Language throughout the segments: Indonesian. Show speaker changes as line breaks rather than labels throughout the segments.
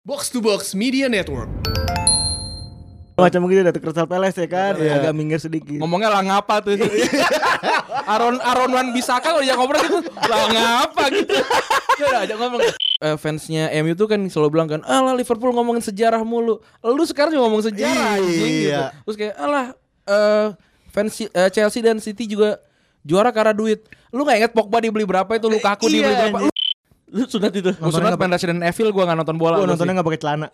Box to Box Media Network.
Macam gitu dari Crystal Palace ya kan,
Iya.
agak minggir sedikit.
Ngomongnya lah ngapa tuh Aron Aron Wan Bisaka kalau dia ngobrol gitu Lah ngapa gitu Dia udah ajak ngomong Eh, fansnya MU tuh kan selalu bilang kan Alah Liverpool ngomongin sejarah mulu Lu sekarang juga ngomong sejarah anjing gitu
Iya.
Terus kayak alah eh fans eh, Chelsea dan City juga juara karena duit Lu gak inget Pogba dibeli berapa itu
Iya,
Lukaku dibeli berapa
anjing.
Lu, lu sunat itu Lu sunat main Resident Evil gua gak nonton bola
Gua
gua
nontonnya nggak pakai celana.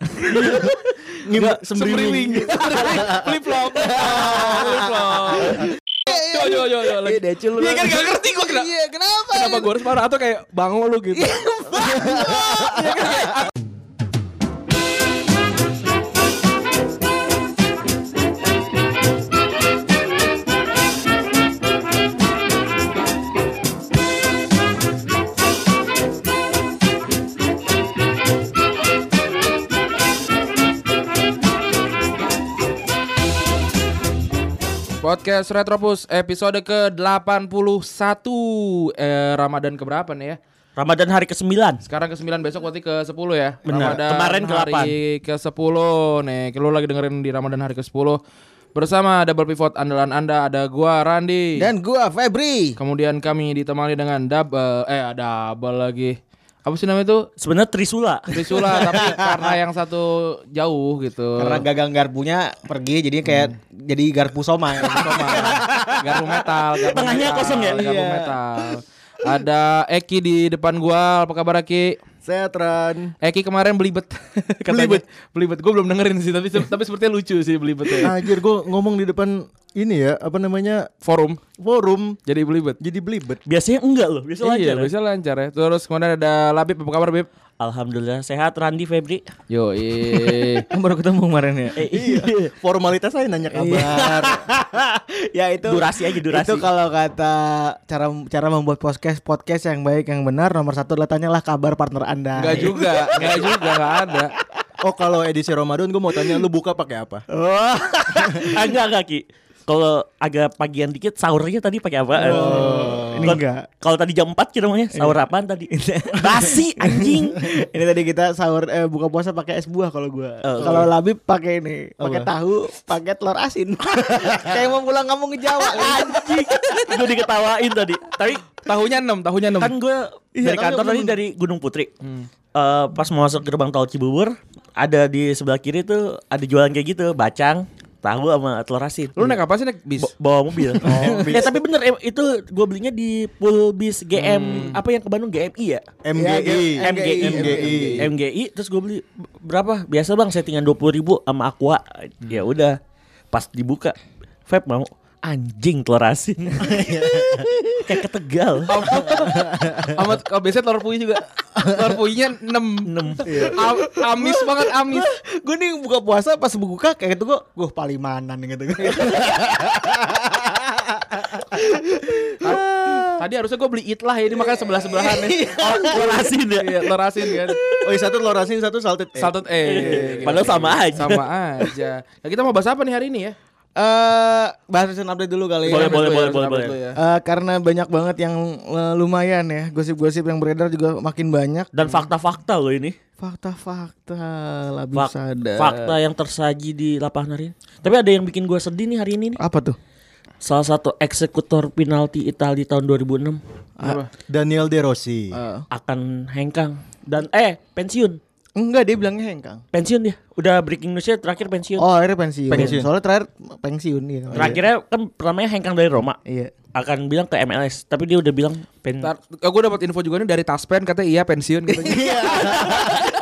Enggak,
sembriwing.
Iya, Flip flop. Flip flop. Yo yo yo yo. lagi. Iya kan gak ngerti gua kena.
Iya, kenapa? Iya.
Kenapa gue harus marah atau kayak bango lu gitu. Podcast Retropus episode ke-81 eh, Ramadan keberapa nih ya?
Ramadan hari ke-9
Sekarang ke-9 besok berarti ke-10 ya.
Benar.
Ramadan
Kemarin ke-8.
hari ke-10 nih. Lu lagi dengerin di Ramadan hari ke-10 bersama Double Pivot andalan Anda ada gua Randi.
Dan gua Febri.
kemudian kami ditemani dengan double eh double lagi. Apa sih namanya itu?
Sebenarnya Trisula
Trisula tapi karena yang satu jauh gitu.
Karena gagang garpunya pergi jadi
Hmm.
kayak jadi garpu soma. ya.
garpu metal, garpu
Tengahnya
metal,
kosong ya?
Garpu
Iya.
metal. Ada Eki di depan gua. Apa kabar Eki?
Sehat Ran.
Eki kemarin belibet. Belibet. belibet. Gue belum dengerin sih tapi tapi sepertinya lucu sih ya.
Nah,
belibetnya.
Anjir gue ngomong di depan ini ya apa namanya
Forum
forum
jadi belibet.
jadi belibet.
Biasanya enggak loh Biasanya
iya,
lancar ya.
bisa lancar ya. Terus kemudian ada Labib apa kabar Bib?
Alhamdulillah sehat Randi Febri
Yo,
Baru ketemu kemarin ya
Iya. Formalitas saya nanya kabar.
ya itu
Durasi aja, durasi.
Itu kalau kata cara cara membuat podcast podcast yang baik yang benar nomor satu adalah tanyalah kabar partner Anda.
Enggak juga, enggak juga enggak ada.
oh kalau edisi Ramadan gue mau tanya lu buka pakai apa?
Ah, Enggak enggak Ki Kalau agak pagian dikit Sahurnya tadi pakai apa
ini enggak.
Kalau tadi jam 4 kira namanya Sahur apaan tadi Basi anjing
ini tadi kita sahur eh, buka puasa pakai es buah kalau gua.
Oh.
Kalau Labib pakai ini, pakai tahu, pakai telur asin. Kayak mau pulang kampung ke Jawa.
Anjing Gue diketawain tadi Tapi
Tahunya 6, tahunya 6.
kan gue
Iya,
dari
tapi
kantor
aku
tadi
belum-
dari Gunung Putri Eh, Pas mau masuk gerbang tol Cibubur Ada di sebelah kiri tuh Ada jualan kayak gitu Bacang Tahu sama telur asin
Lu naik apa sih naik bis?
Ba- bawa mobil. ya tapi bener em, itu gue belinya di Pulbis GM apa yang ke Bandung GMI ya?
MGI.
MGI.
MGI.
MGI terus gue beli berapa? Biasa Bang settingan 20 ribu sama Aqua. Ya udah. Pas dibuka vape mau anjing telur asin. Kayak ketegal.
Amat kalau biasanya telur puyuh juga. Telur puyuhnya 6.
iya.
6. amis banget amis.
gue nih buka puasa pas buka kayak gitu gue gue palimanan gitu
Tadi harusnya gue beli itlah ya ini makanya sebelah sebelahan ya.
Iya, telur asin ya.
Iya, telur asin kan.
Oh iya, satu telur asin satu salted. egg.
Salted eh.
Iya, Padahal sama aja.
Sama aja. Nah, kita mau bahas apa nih hari ini ya?
eh bahas recent update dulu kali
Boleh,
ya
Update
boleh, boleh,
lu ya,
boleh,
update
boleh.
Iya.
lu ya.
Eh, karena banyak banget yang eh, lumayan ya gosip-gosip yang beredar juga makin banyak
Dan fakta-fakta loh ini.
fakta-fakta lebih
Fak-
sadar
fakta yang tersaji di lapangan hari ini. Tapi ada yang bikin gue sedih nih hari ini nih.
apa tuh
Salah satu eksekutor penalti Italia tahun 2006
Ah, Daniel De Rossi.
akan hengkang dan eh pensiun
enggak dia bilangnya hengkang
pensiun dia udah breaking newsnya terakhir pensiun
oh akhirnya pensiun,
Pensiun.
soalnya terakhir pensiun gitu
terakhirnya kan pertamanya hengkang dari Roma
iya
akan bilang ke MLS tapi dia udah bilang pen
Ntar, gue dapat info juga nih dari Taspen katanya iya pensiun katanya.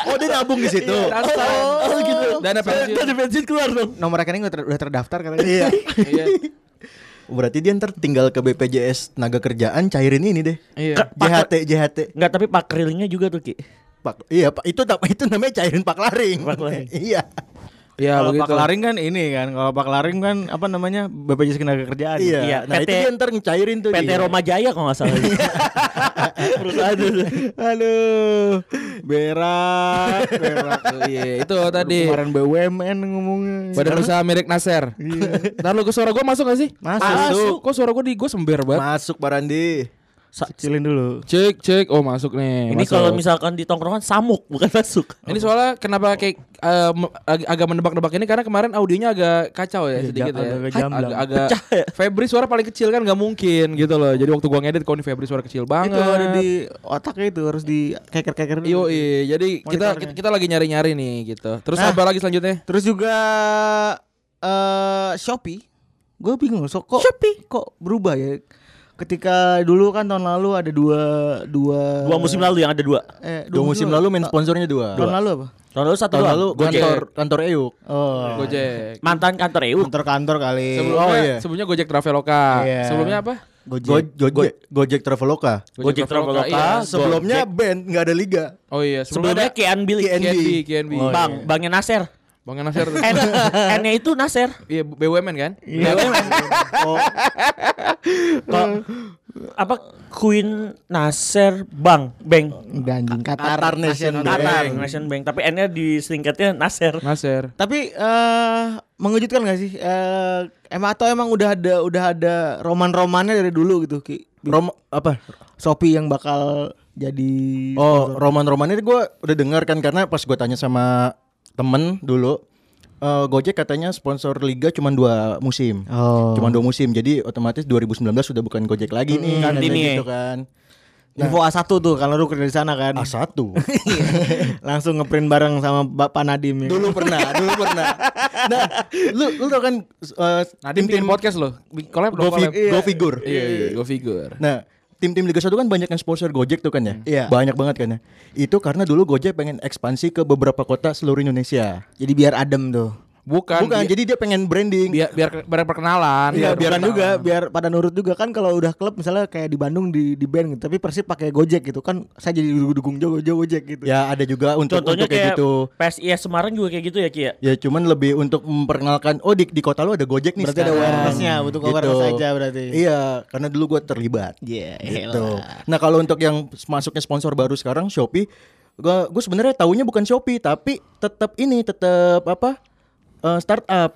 Oh dia Iya, nabung di situ.
Taspen.
oh,
gitu. Dana pensiun.
Dari pensiun keluar dong
nomor rekening udah, ter- udah terdaftar katanya iya
Iya.
Berarti dia ntar tinggal ke BPJS tenaga kerjaan cairin ini deh.
Iya.
Ke-
JHT JHT.
Enggak tapi pak kerilingnya juga tuh Ki
Pak, iya Pak itu tak- itu namanya cairin Pak Laring.
Pak Laring.
iya.
Iya
kalau
begitu.
pak laring kan ini kan kalau pak laring kan apa namanya bpjs tenaga kerjaan
Iya.
Iya,
Nah
PT
itu dia ntar ngecairin tuh.
PT
dia.
Roma Jaya kalau nggak salah perusahaan itu
Halo, berak, berak.
Iya, itu tadi.
Kemarin BUMN ngomongnya.
Badan usaha milik Nasir. Ntar lu ke suara gue masuk gak sih?
Masuk.
Kok suara gue di gue sember banget.
Masuk Pak Randi.
Sa-
Kecilin dulu.
Cek cek oh masuk nih.
ini
masuk.
kalau misalkan di tongkrongan samuk bukan masuk.
ini soalnya kenapa kayak eh, me- ag- agak menebak-nebak ini karena kemarin audionya agak kacau ya
Iya,
sedikit
ja-
ya.
agak
Hah,
jamblang.
agak, agak Febri suara paling kecil kan nggak mungkin gitu loh. Jadi waktu gua ngedit kalau ini Febri suara kecil banget.
Itu ada di otaknya itu harus di keker-keker dulu.
Yo, jadi kita,
Monitornya.
kita kita lagi nyari-nyari nih gitu. Terus apa lagi selanjutnya?
Terus juga eh Shopee. Gue bingung so, kok Shopee kok berubah ya? Ketika dulu kan tahun lalu ada dua dua
Dua musim lalu yang ada dua.
eh,
Dua musim lalu main sponsornya dua.
Tahun lalu apa?
Tahun lalu satu
Tahun
doang.
lalu
Gojek.
kantor kantor E EUK.
Oh.
Gojek.
mantan kantor E EU.
Kantor-kantor kali.
Sebelumnya,
Oh, iya.
sebelumnya Gojek Traveloka.
Iya.
Sebelumnya apa?
Gojek, Gojek, Gojek Traveloka.
Gojek Traveloka.
iya.
Ah,
Sebelumnya
Gojek.
band nggak ada liga.
Oh iya,
Sebelumnya
sebelumnya, ada
Kian Billy. Oh, iya.
KNB.
KNB, KNB.
Bang, bangnya Nasir.
Bang Nasir. tuh.
N, N-nya itu Nasir.
Iya, BUMN kan?
Iya.
Kalau- apa Queen Nasir Bang, Bang.
Udah anjing Qatar.
Qatar Nation Bank.
Qatar Nation Bank, tapi N-nya di singkatnya Nasir.
Nasir.
Tapi eh mengejutkan gak sih? Eh emang atau emang udah ada udah ada roman-romannya dari dulu gitu Ki?
Rom apa?
Shopee yang bakal jadi
Oh, roman-roman ini gue udah dengar kan karena pas gue tanya sama temen dulu, eh, Gojek katanya sponsor liga cuma dua musim,
Oh.
cuma dua musim. Jadi otomatis 2019 sudah bukan Gojek lagi nih,
kan
katanya
ini.
gitu kan.
info
Nah.
A1 tuh kalau lu kerja di sana kan.
A 1
Langsung ngeprint bareng sama Bapak Nadim ya.
dulu pernah, dulu pernah. Nah, lu lu tau kan eh,
Nadiem bikin Nah, podcast loh. Bi- Collab dong,
Go,
collab.
Fi- Go Figure.
Iya, iya, go figure.
Nah, tim-tim Liga 1 kan banyak yang sponsor Gojek tuh kan ya.
Iya.
Banyak banget kan ya. Itu karena dulu Gojek pengen ekspansi ke beberapa kota seluruh Indonesia.
Jadi biar adem tuh.
Bukan, bi-
Bukan, jadi dia pengen branding.
biar biar biar perkenalan.
Iya, biar
perkenalan.
juga biar pada nurut juga kan kalau udah klub misalnya kayak di Bandung di di band gitu, tapi Persib pakai Gojek gitu kan saya jadi dukung Jogo Gojek gitu.
Ya ada juga untuk untuk
Contohnya
kayak
kayak,
gitu.
PSIS Semarang juga kayak gitu ya Ki ya.
Ya cuman lebih untuk memperkenalkan oh di, di kota lu ada Gojek nih.
Berarti ada
sekarang. Gitu.
awareness-nya, butuh awareness aja berarti.
Iya, karena dulu gua terlibat.
Iya,
Gitu. Nah, kalau untuk yang masuknya sponsor baru sekarang Shopee, gua gua sebenarnya taunya bukan Shopee tapi tetap
Ah.
ini tetap apa? eh, startup.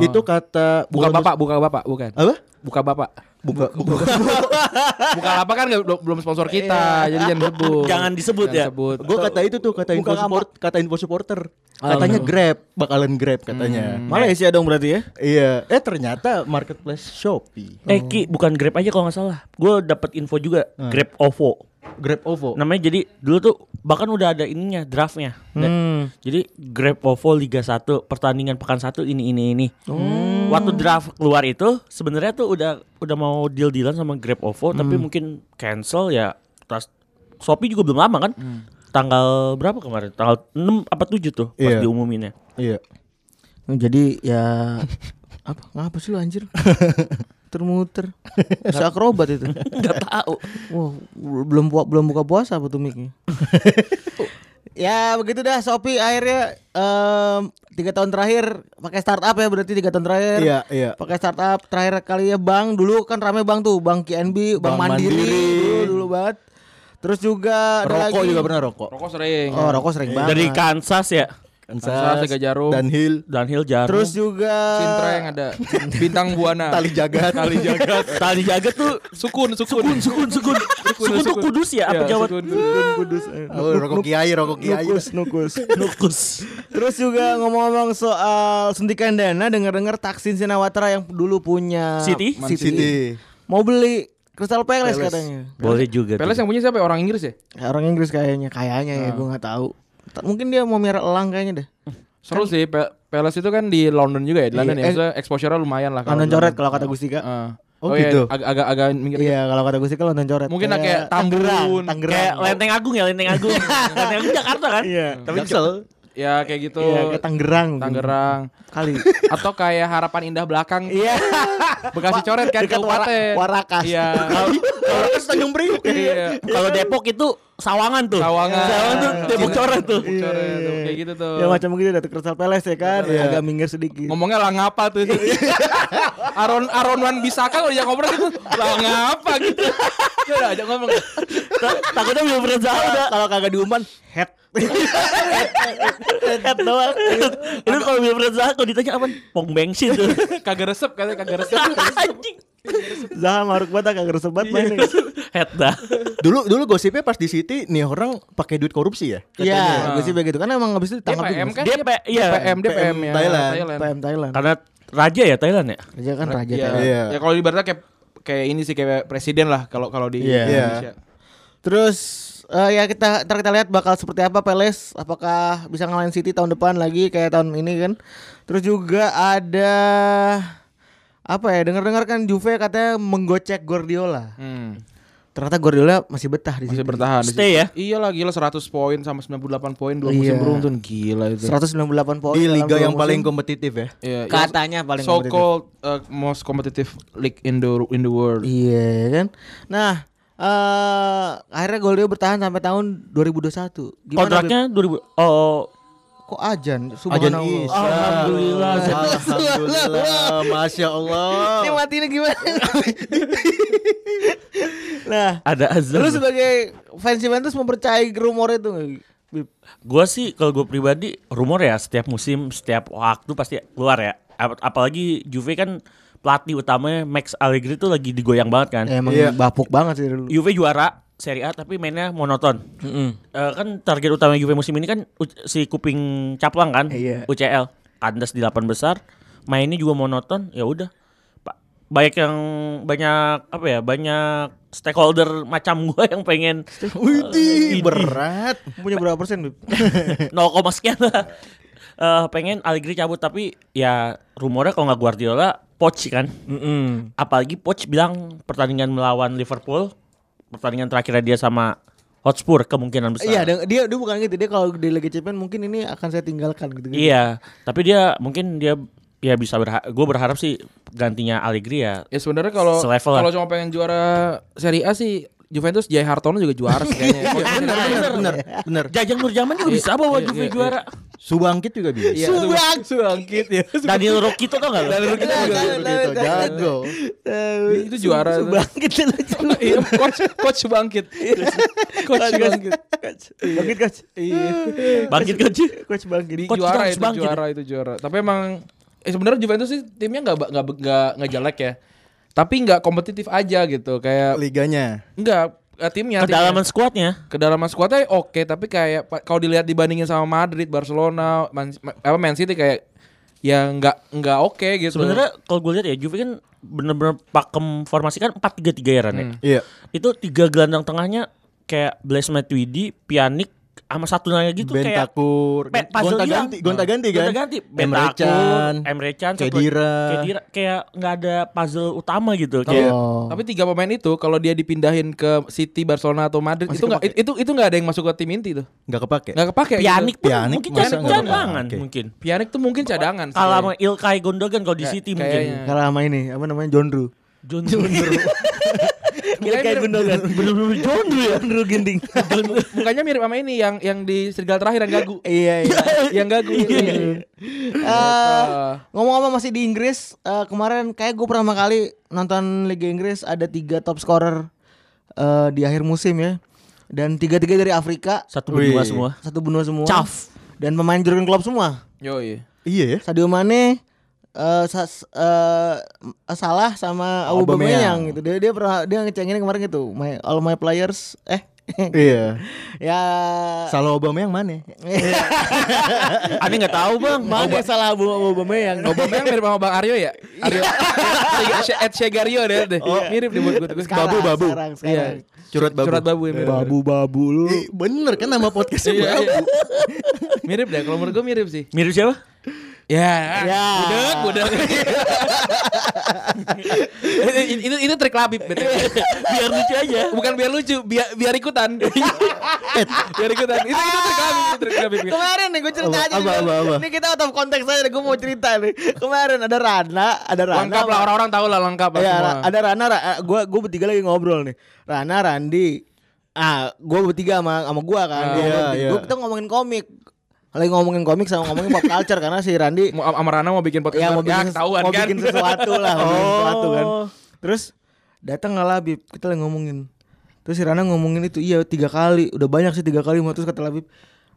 Itu kata
Buka
bukan-
bapak, buka bapak, bukan.
Apa?
Buka bapak.
Buka, buka,
Buka bapak kan nggak- belum sponsor kita, jadi jangan sebut.
Jangan disebut ya.
sebut.
Gue kata itu tuh kata info support, kata info supporter.
Ah,
Katanya Grab, bakalan Grab katanya.
Malaysia dong berarti ya.
Iya, eh ternyata marketplace Shopee.
Eh Ki, bukan Grab aja kalau nggak salah. Gue dapat info juga Grab OVO.
Hmm. Grab OVO.
Namanya jadi dulu tuh bahkan udah ada ininya draftnya.
Hmm.
Hmm.
Dan- Jadi Grab OVO Liga 1 pertandingan pekan 1 ini ini ini.
Oh.
Waktu draft keluar itu sebenarnya tuh udah udah mau deal dealan sama Grab OVO tapi
Hmm.
mungkin cancel ya. Terus Shopee juga belum lama kan?
Hmm.
Tanggal berapa kemarin? Tanggal 6 apa 7 tuh pas
Iya.
diumuminnya.
Iya.
Oh, Jadi ya apa ngapa sih lu anjir? Termuter. Bisa akrobat itu.
Enggak tahu.
Wah, belum pua- belum buka puasa apa tuh miknya? ya begitu dah Shopee akhirnya em, tiga tahun terakhir pakai startup ya berarti tiga tahun terakhir
Iya, iya.
pakai startup terakhir kali ya bang dulu kan rame bang tuh bang KNB bang,
Bank
Mandiri,
Mandiri.
Dulu, dulu banget terus juga ada
Rokok
lagi-
juga pernah rokok.
Rokok sering.
oh rokok sering banget
Dari Kansas ya.
Kansas, Liga Jarum.
Dan Hill,
Dunhill Jarum.
terus juga
Cintreng ada. Bintang Buana.
Tali Jagat.
Tali jagat, tali jagat Ah, tuh
Sukun, sukun. Iya,
sukun, sukun, sukun, sukun, tuh kudus ya, apa Jawa
Sukun.
kudus eh,
Oh, rokok Kiai, rokok Kiai.
nukus nukus
nukus.
Iya, Terus juga ngomong-ngomong soal suntikan dana, dengar-dengar Taksin Sinawatra yang dulu punya
City?
City,
City.
mau beli Crystal Palace, katanya.
Boleh juga.
Peles yang punya siapa? ya? Orang Inggris ya?
Ya, Orang Inggris kayaknya, kayaknya ya, gue nggak tahu. Ta- Mungkin dia mau merah elang kayaknya deh.
Seru sih. Pe- Peles itu kan di London juga ya, di London ya.
eh,
Maksudnya exposure-nya lumayan lah.
Nonton
di
coret
London.
kalau Ah. kata Gustika.
Heeh.
Oh,
iya,
gitu.
ag- agak agak minggir.
Iya, kalau kata Gustika nonton coret.
Mungkin lah kayak
Tangerang,
Tambun,
Kayak
Tangerang.
Lenteng Agung ya, Lenteng Agung. Lenteng Agung Jakarta kan?
Iya.
Tapi Jaksel.
Ya kayak gitu.
Iya, kayak Tangerang. mungkin.
Hmm. Tangerang.
Kali.
Atau kayak harapan indah belakang.
Iya.
Bekasi coret kan
Dekat Wara-
kabupaten.
Warakas.
Iya.
Orang kan Tanjung Priuk.
Iya.
Kalau Depok itu Sawangan tuh.
Sawangan. Iya.
Sawangan tuh Depok coret tuh.
Buk coret tuh, kayak gitu tuh. Iya.
ya macam gitu datang Crystal Palace ya kan, agak minggir sedikit.
Ngomongnya lah ngapa tuh Aron Aron Wan Bisaka kalau dia ngobrol gitu Lah ngapa gitu Ya udah ajak ngomong
Ta- Takutnya belum pernah jauh
Iya.
dah.
Kalau kagak diumpan, head.
Head doang. Itu- Itu kalau belum pernah jauh, kalau ditanya apa? Pong bensin tuh.
Iya. Kagak resep katanya kagak resep
Anjing.
Zaha maruk banget agak ngeresep banget mainnya.
Iya.
Head dah.
Dulu dulu gosipnya pas di City nih orang pakai duit korupsi ya.
Iya, gue sih begitu. Karena emang habis itu ditangkap
DPM
juga.
kan?
DP, iya.
DPM, DPM ya.
Thailand.
PM Thailand.
Karena raja ya Thailand ya?
Raja kan raja.
Ya,
Thailand.
Iya.
ya kalau ibaratnya kayak kayak ini sih kayak presiden lah kalau kalau di
Iya.
Indonesia.
Terus eh, ya kita ntar kita lihat bakal seperti apa Peles apakah bisa ngalahin City tahun depan lagi kayak tahun ini kan. Terus juga ada apa ya dengar-dengar kan Juve katanya menggocek Guardiola.
Hmm.
Ternyata Guardiola masih betah di
Masih
situ.
bertahan. di
Stay
situ.
ya?
Iya lah gila 100 poin sama 98 poin dua musim
Iya.
beruntun gila itu.
198 poin
Di
dalam
liga
dua
yang
musim.
paling kompetitif ya.
Iya, iya.
katanya paling
so called uh, most competitive league in the in the world.
Iya kan. Nah, eh akhirnya Guardiola bertahan sampai tahun 2021. Gimana,
Kontraknya 2000 oh
Beb? kok ajan?
Ajan iya.
Subhanallah.
Is.
alhamdulillah.
Alhamdulillah, masya
Ini
Allah.
matinya gimana? nah,
Ada azab.
lu sebagai fans Juventus mempercayai rumor itu nggak? Bib?
Gua sih kalau gue pribadi rumor ya setiap musim, setiap waktu pasti keluar ya. Ap- Apalagi Juve kan pelatih utamanya Max Allegri tuh lagi digoyang banget kan.
Eh, Emang
Iya.
bapuk banget sih dulu.
Juve juara Serie A tapi mainnya monoton. Eh, kan target utama Juve musim ini kan U- si Kuping Caplang kan,
Iya.
UCL. Kandas di 8 besar, mainnya juga monoton, ya udah. Pak, Banyak yang banyak apa ya? Banyak stakeholder macam gua yang pengen eh,
Wih, berat.
Punya berapa persen, Bib?
0, koma sekian lah. Eh, pengen Allegri cabut tapi ya rumornya kalau nggak Guardiola Poch kan. Apalagi Poch bilang pertandingan melawan Liverpool, pertandingan terakhirnya dia sama Hotspur kemungkinan besar.
Iya, dia- dia dia bukan gitu. Dia kalau di Liga Champions mungkin ini akan saya tinggalkan gitu.
Iya, tapi dia mungkin dia ya bisa berha- gue berharap sih gantinya Allegri ya.
Ya sebenarnya kalau
Selevel lah.
kalau cuma pengen juara Serie A sih Juventus Jai Hartono juga juara sih kayaknya. Kalau Serie A,
Bener, bener, bener.
Jajang Nurjaman juga bisa
Nah,
bawa
iya,
Juve
iya,
juara.
Subangkit juga bisa.
Iya, itu- Subangkit Iya, ya.
Daniel Rocchito tau gak? Daniel
Kita juga begitu, jago.
Itu juara.
Eh, Bangkit lu.
Iya, coach coach Subangkit. coach Subangkit.
Bangkit, Coach.
Bangkit coach.
Coach bangkit.
Di
Coach
juara
harus
itu
bangkit.
juara itu juara. Tapi emang eh sebenarnya Juventus sih timnya nggak ba- nggak nggak nggak jelek ya. Tapi nggak kompetitif aja gitu. Kayak
Liganya.
nggak eh, timnya timnya.
Kedalaman skuadnya.
kedalaman skuadnya oke tapi kayak pa- kalau dilihat dibandingin sama Madrid, Barcelona, Man, Ma- apa Man City kayak ya nggak nggak oke gitu.
Sebenarnya kalau gue lihat ya Juve kan bener-bener pakem formasi kan 4-3-3 ya Ran ya.
Hmm.
Iya.
Itu tiga gelandang tengahnya kayak Blaise Matuidi, Pjanic sama satu lagi tuh kayak
Bentakur.
Pe- puzzle
Gonta
hilang.
ganti, gonta ganti kan.
Gonta ganti.
Emre
Bentakur,
Can,
Emre Can, satu lagi-
Khedira. Iya.
Khedira, kayak nggak ada puzzle utama gitu. Kayak
Tapi tiga pemain itu kalau dia dipindahin ke City, Barcelona atau Madrid itu nggak itu itu nggak ada yang masuk ke tim inti tuh.
Nggak kepake.
Nggak kepake. gitu.
Pjanic pun
Pjanic
mungkin
masa
jadi
nggak bakal.
cadangan
Oke.
mungkin.
Pjanic tuh mungkin cadangan. sih.
Kalau sama Ilkay Gundogan kalau di
Kayak-
City
kayaknya.
mungkin.
Kalah sama ini, apa namanya? John Drew.
John Drew.
Kayak Gundogan.
Bener-bener John Drew ya.
John Drew Ginting.
Mukanya mirip sama ini yang yang di serigala terakhir yang gagu.
Iya, iya.
yang gagu. Iya.
Eh,
Ah.
Ngomong-ngomong masih di Inggris eh, kemarin kayak gue pertama kali nonton Liga Inggris ada tiga top scorer eh, di akhir musim ya dan tiga tiga dari Afrika
Satu
Wih.
berdua semua.
satu benua semua
Caf.
dan pemain Jurgen Klopp semua
Yo iya.
Iya ya.
Sadio Mane eh, sa- s- eh, salah sama Aubameyang gitu dia dia pernah dia ngecengin kemarin gitu my, all my players eh
Iya.
ya
Salah Obama yang mana?
Aneh nggak tahu bang.
Mane salah Aubameyang
Aubameyang mirip sama Bang Aryo ya? Aryo. Ed Shegario deh deh. Mirip deh buat gue. Iya.
Sekarang,
Babu, babu. Iya.
sekarang, sekarang.
Curhat babu.
Surat babu ya mirip.
babu lu
Ih, bener kan nama podcastnya
Iya,
babu.
iya. mirip deh kalau menurut gue mirip sih.
Mirip siapa?
Ya,
Ya.
budek, budek. itu, itu, itu trik labib betul.
Biar lucu aja.
Iya.
Bukan biar lucu, biar biar ikutan. biar ikutan. Itu, itu trik labib, itu trik labib.
Kemarin nih gue cerita
Apa,
aja
apa,
nih,
apa, apa?
Ini kita out of konteks aja gue mau cerita nih Kemarin ada Rana Ada Rana
Lengkap lah orang-orang tahu lah lengkap lah
Ya,
semua.
ada Rana, Ra- eh, gua gue bertiga lagi ngobrol nih. Rana, Randi, ah gue bertiga sama sama gue kan.
Ah, iya,
Gua-
iya.
gua- kita ngomongin komik, lagi ngomongin komik sama ngomongin pop culture karena si Randi
Mau Am- Amarana mau bikin podcast
ya mau
ya,
bikin,
ketahuan
mau
kan.
bikin sesuatu lah, mau bikin sesuatu kan. Terus datang nggak Labib, kita lagi ngomongin. Terus si Rana ngomongin itu, iya tiga kali, udah banyak sih tiga kali. Terus kata Labib,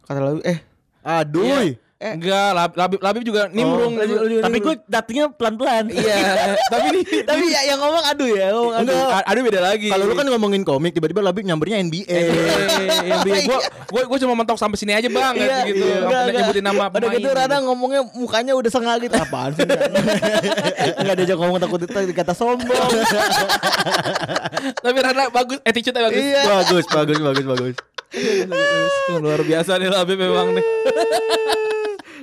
kata Labib, eh
Aduh.
Enggak, Lab- Labib Labib juga nimbrung.
Tapi gue datangnya pelan-pelan.
Iya, tapi ini
Tapi ya, yang ngomong aduh ya, ngomong aduh.
aduh, aduh beda lagi.
Kalau lu kan ngomongin komik tiba-tiba lebih nyambernya NBA.
Iya. gue gue gue cuma mentok sampai sini aja bang
Iya,
gitu.
iya. Enggak,
Nggak pernah
enggak.
nyebutin nama
Udah gitu Rana ngomongnya mukanya udah sengah gitu Apaan sih Enggak diajak ngomong takut dikata sombong
Tapi Rana bagus, attitude bagus.
Iya
bagus, bagus, bagus, bagus.
Wah, Luar biasa nih Labib memang nih.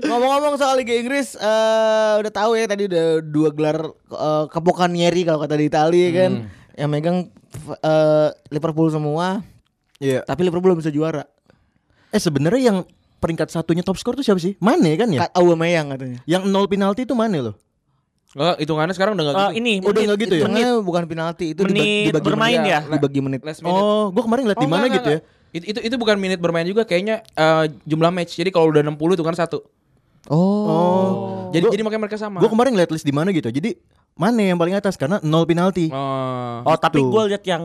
Ngomong-ngomong soal Liga Inggris eh Udah tahu ya tadi udah dua gelar eh, kepokan nyeri kalau kata di Itali kan Yang megang eh, Liverpool semua
Iya.
Tapi Liverpool belum bisa juara
Eh sebenarnya yang peringkat satunya top skor tuh siapa sih? Mane kan ya?
Kat Aubameyang katanya
Yang nol penalti itu Mane loh.
Enggak, Oh, hitungannya sekarang udah enggak
Eh,
gitu.
ini
Udah
menit-
nggak gitu ya?
Hitungannya bukan penalti itu diba-
Menit
dibagi
bermain
menit.
ya?
Dibagi menit
Last minute.
Oh, gua kemarin ngeliat di mana
enggak,
gitu ya.
enggak, enggak. Itu, itu itu bukan menit bermain juga kayaknya eh, jumlah match. Jadi kalau udah 60 itu kan satu.
Oh.
Jadi
Gua-
jadi makanya mereka sama.
Gue kemarin ngeliat list di mana gitu. Jadi Mane yang paling atas karena nol penalti.
Oh.
Ah,
Oh tapi
Gitu.
gue lihat yang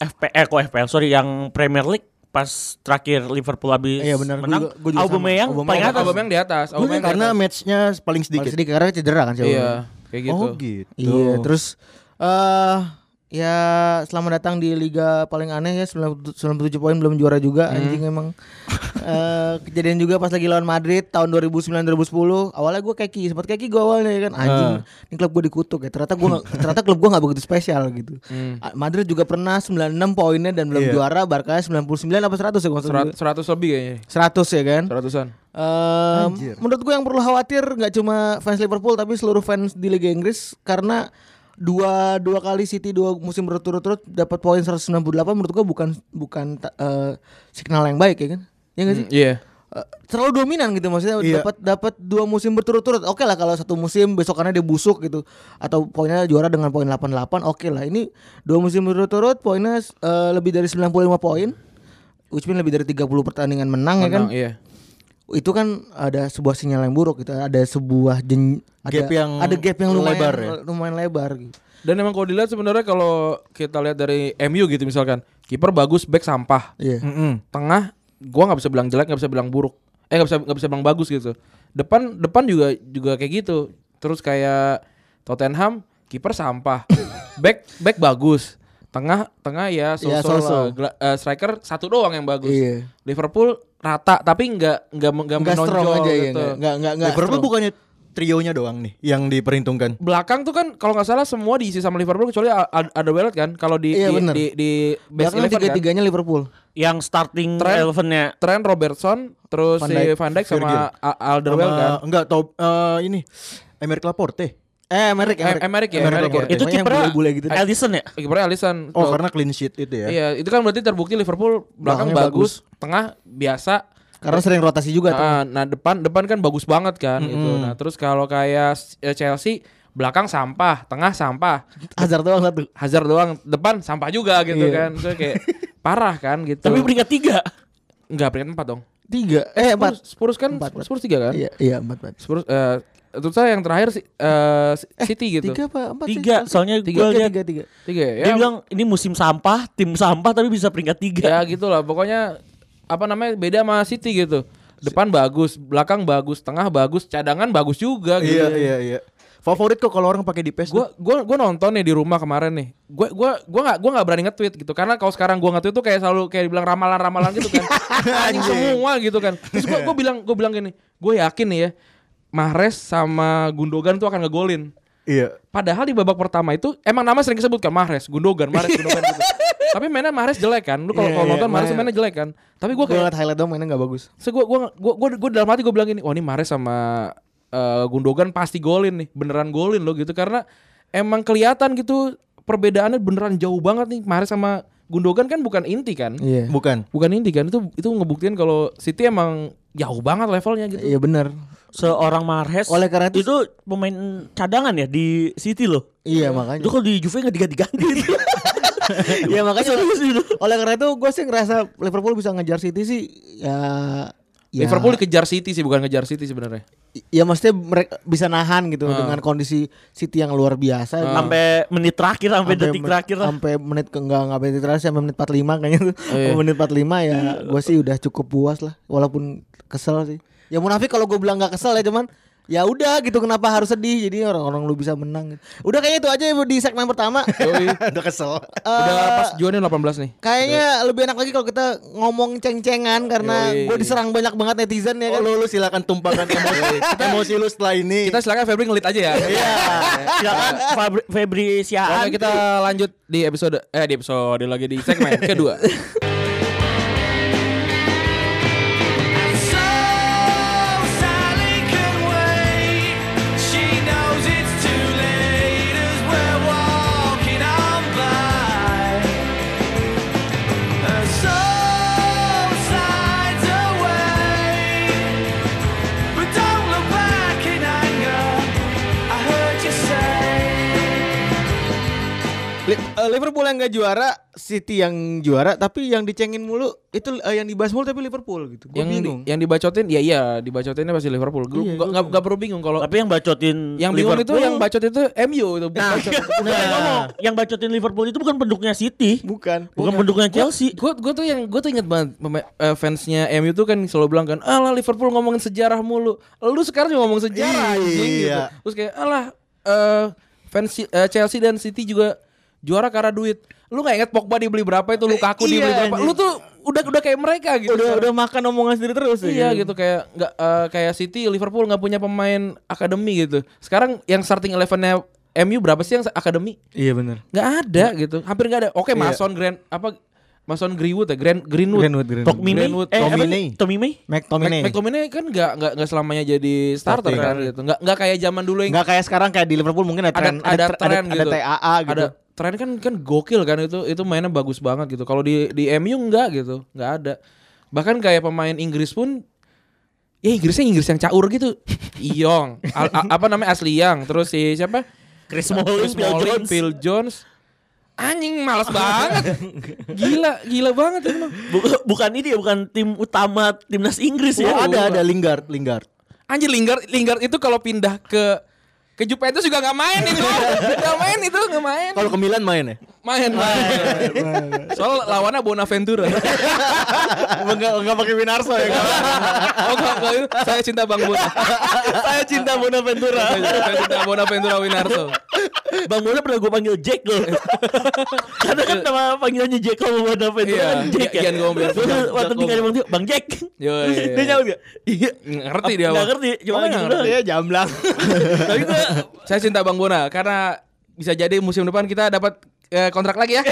FPL eh, kok FPL sorry yang Premier League pas terakhir Liverpool habis
Iya, benar. Gua
menang
juga- gua juga
Aubameyang
sama.
paling atas.
Aubameyang di atas.
Gua liat
Aubameyang di
karena
atas.
matchnya paling
Paling
sedikit.
sedikit karena cedera kan sih
iya, kayak gitu.
Oh gitu.
Iya, terus eh ya selamat datang di liga paling aneh ya 97 97 poin belum juara juga anjing emang. Eh, kejadian juga pas lagi lawan Madrid tahun 2009 2010. Awalnya gue keki, sempat keki gue awalnya ya kan anjing. Ini klub gue dikutuk ya. Ternyata gue ternyata klub gue nggak begitu spesial gitu. Ah, Madrid juga pernah 96 poinnya dan belum
Iya.
juara, Barca 99 apa 100 ya gua maksud
Serat-
gua.
100 lebih kayaknya.
100 ya kan?
100-an.
Em, menurut gue yang perlu khawatir nggak cuma fans Liverpool tapi seluruh fans di Liga Inggris karena dua dua kali City dua musim berturut-turut dapat poin 198 menurut gue bukan bukan ta- eh, signal yang baik ya kan? Ya nggak sih?
Iya.
Eh, terlalu dominan gitu maksudnya
Iya.
dapat dapat dua musim berturut-turut oke lah kalau satu musim besokannya dia busuk gitu atau poinnya juara dengan poin 88 oke lah ini dua musim berturut-turut poinnya eh, lebih dari 95 poin which mean lebih dari 30 pertandingan menang, ya kan
Menang, iya.
itu kan ada sebuah sinyal yang buruk gitu ada sebuah jen,
Gap
ada,
yang
ada gap yang lumayan
lebar
lebar,
ya?
lumayan lebar gitu.
Dan emang kalau dilihat sebenarnya kalau kita lihat dari MU gitu misalkan, kiper bagus, back sampah.
Iya.
Tengah gua nggak bisa bilang jelek, nggak bisa bilang buruk. Eh nggak bisa nggak bisa bilang bagus gitu. Depan depan juga juga kayak gitu. Terus kayak Tottenham kiper sampah. back back bagus. Tengah tengah ya so
Ya, so-so.
eh, striker satu doang yang bagus.
Iya.
Liverpool rata tapi nggak nggak nggak
Enggak strong
menonjol
aja ya, enggak
gitu.
enggak enggak. enggak
Liverpool
strong.
bukannya trionya doang nih yang diperhitungkan.
belakang tuh kan kalau nggak salah semua diisi sama Liverpool kecuali ada Welot kan kalau di
Iya,
di,
bener.
di di base
Belakang
11 kan
tiga-tiganya Liverpool.
Yang starting
Trent.
elevennya
Trent Robertson terus
Van
si
Dijk,
Van Dijk sama
Virgil.
A- Alderweireld
Sama-
kan
Enggak, top eh, ini. Emerick Laporte.
Eh, Merrick,
Em- Emerick ya Emerick ya
Pokoknya
itu
yang
kiper
bule-bule gitu.
Alisson ya.
kipernya Alisson
Oh,
Tuh.
karena clean sheet itu ya.
iya itu kan berarti terbukti Liverpool belakang
Belakangnya
bagus, tengah biasa
Karena sering rotasi juga tuh.
nah, nah, depan depan kan bagus banget kan gitu nah terus kalau kayak eh, Chelsea belakang sampah tengah sampah
Hazard doang satu.
Hazard doang depan sampah juga gitu
Iya.
kan so, kayak parah kan gitu
Tapi peringkat tiga.
nggak peringkat empat dong
Tiga. Eh, empat.
Spurs, Spurs kan
Empat, empat.
Spurs tiga kan?
Iya, iya, empat, empat.
Spurs eh terus saya yang terakhir si- eh, City gitu.
Tiga apa? Empat. sih?
Tiga. Soalnya gue
Tiga, tiga,
lihat
tiga, tiga.
Tiga ya.
dia bilang ini musim sampah, tim sampah tapi bisa peringkat
ya
tiga.
gitu lah pokoknya apa namanya beda sama City gitu. Depan bagus, belakang bagus, tengah bagus, cadangan bagus juga gitu.
Iya, iya, iya. Favorit kok kalau orang pakai di PES.
Gua gua gua nonton nih di rumah kemarin nih. Gua gua gua nggak gua nggak berani nge-tweet gitu karena kalau sekarang gua nge-tweet tuh kayak selalu kayak dibilang ramalan-ramalan gitu kan. Anjing semua gitu kan. Terus gua gua bilang gua bilang gini, gue yakin nih ya Mahrez sama Gundogan tuh akan ngegolin.
Iya.
Padahal di babak pertama itu emang nama sering disebutkan Mahrez, Gundogan, Mahrez, Gundogan gitu. Tapi mainnya Mahrez jelek kan. Lu kalau
Iya,
kalau
iya,
nonton Mahrez
main-
mainnya jelek kan. Tapi gua
Gue
kayak
ngeliat highlight doang mainnya gak bagus.
so gua, gua, gua, gua, gua dalam hati gua bilang gini, "Wah, ini Mahrez sama eh, Gundogan pasti golin nih. Beneran golin loh gitu karena emang kelihatan gitu perbedaannya beneran jauh banget nih Mahrez sama Gundogan kan bukan inti kan.
Iya.
Bukan.
Bukan inti kan itu itu ngebuktiin kalau City emang jauh banget levelnya gitu.
Iya benar.
Seorang Marhes
Oleh karena itu-
itu pemain cadangan ya di City loh.
Iya makanya.
Itu kalau di Juve nggak diganti-ganti.
Ya makanya oleh karena itu gue sih ngerasa Liverpool bisa ngejar City sih ya ya,
Liverpool dikejar City sih bukan ngejar City sebenarnya.
ya maksudnya mereka bisa nahan gitu
Ah.
dengan kondisi City yang luar biasa gitu.
sampai menit terakhir, sampai detik
men-
terakhir lah.
sampai menit ke enggak enggak menit terakhir sampai menit 45 kayaknya tuh.
iya.
Sampai menit 45 ya gue sih udah cukup puas lah walaupun kesel sih. ya munafik kalau gue bilang nggak kesel ya cuman ya udah gitu kenapa harus sedih jadi orang-orang lu bisa menang gitu. udah kayaknya itu aja ya Bu, di segmen pertama
Udah kesel.
Udah
Eh,
pas Johnnya 18 nih.
Kayaknya lebih enak lagi kalau kita ngomong ceng-cengan karena
Yoi.
gue diserang banyak banget netizen ya kan.
Oh, lu, lu silakan tumpahkan emosi, emosi lu setelah ini.
Kita silakan Febri ngelit aja ya. Iya.
Silakan Fabri- Febri Siaan.
Oke, kita lanjut di episode eh di episode lagi di segmen kedua.
Li- eh, Liverpool yang gak juara, City yang juara, tapi yang dicengin mulu itu eh, yang dibahas mulu tapi Liverpool gitu. Gue
yang di-
bingung.
yang dibacotin ya iya dibacotinnya pasti Liverpool.
Iya,
Gue nggak
gua-
nggak- nggak perlu bingung kalau
Tapi yang bacotin
yang bingung itu
Liverpool-
yang bacot itu MU itu.
Nah, nah, ngomong, yang bacotin Liverpool itu bukan penduknya City,
Bukan.
bukan penduknya
Iya.
Chelsea.
Gue gue tuh yang gue tuh inget banget pema- eh, fansnya MU tuh kan selalu bilang kan, alah Liverpool ngomongin sejarah mulu. Lu sekarang juga ngomong sejarah anjing gitu.
Iya.
Terus kayak alah eh, fans eh, Chelsea dan City juga juara karena duit. Lu nggak inget Pogba dibeli berapa itu Lukaku
Iya,
dibeli berapa?
anjing.
Lu tuh udah udah kayak mereka gitu.
Udah
sekarang.
udah makan omongan sendiri terus ya,
Iya gitu kayak nggak eh, kayak City Liverpool nggak punya pemain akademi gitu. Sekarang yang starting elevennya MU berapa sih yang akademi?
Iya benar.
Nggak ada gitu. Hampir nggak ada. Oke Mason Grand apa Mason Greenwood ya Grand Greenwood.
Greenwood, Greenwood.
Tokmini,
Greenwood,
eh, apa
Tomine.
sih? Tomine?
Mc-
McTominay.
McTominay kan nggak nggak nggak selamanya jadi starter
Starting.
kan gitu. Nggak nggak kayak zaman dulu yang
Enggak kayak sekarang kayak di Liverpool mungkin ada
ada
tren
ada
tr-
tren
ada
gitu.
TAA gitu.
Ada tren kan kan gokil kan itu itu mainnya bagus banget gitu. Kalau di di MU enggak gitu, enggak ada. Bahkan kayak pemain Inggris pun ya Inggrisnya Inggris yang caur gitu. Iyong, Al- a- apa namanya Asli Yang, terus si siapa?
Chris Smalling,
Chris
Phil
Smalling,
Jones.
Phil Jones. Anjing males banget. gila, gila banget itu. mah.
Bu- bukan ini ya, bukan tim utama timnas Inggris
Oh,
ya.
ada ada Lingard, Lingard.
Anjir Lingard Lingard itu kalau pindah ke ke Juventus juga nggak main itu. Nggak main itu, nggak main.
Kalau ke Milan main ya?
Main. Soal lawannya Bonaventura.
Enggak enggak pakai Winarso ya.
oh enggak, enggak itu. Saya cinta Bang Bona.
Saya cinta Bonaventura.
saya cinta Bonaventura Winarto.
Bang Bona pernah gue panggil Jack loh. Karena kan nama panggilannya Jack kalau Bonaventura
Iya,
kan Jack
Gian Gomez.
Terus
Gian-
Waktu
Gian
tinggal
Gomez.
bang Tio, Bang Jack.
Yo,
Terus
iya,
Dia
iya.
jawab dia. Iya.
Ngerti dia.
Nggak
Bang.
ngerti, cuma
Oh, nggak
gitu
ngerti.
doang.
Iya jamblang.
Tapi gue
Saya cinta Bang Bona karena bisa jadi musim depan kita dapat eh, kontrak lagi ya.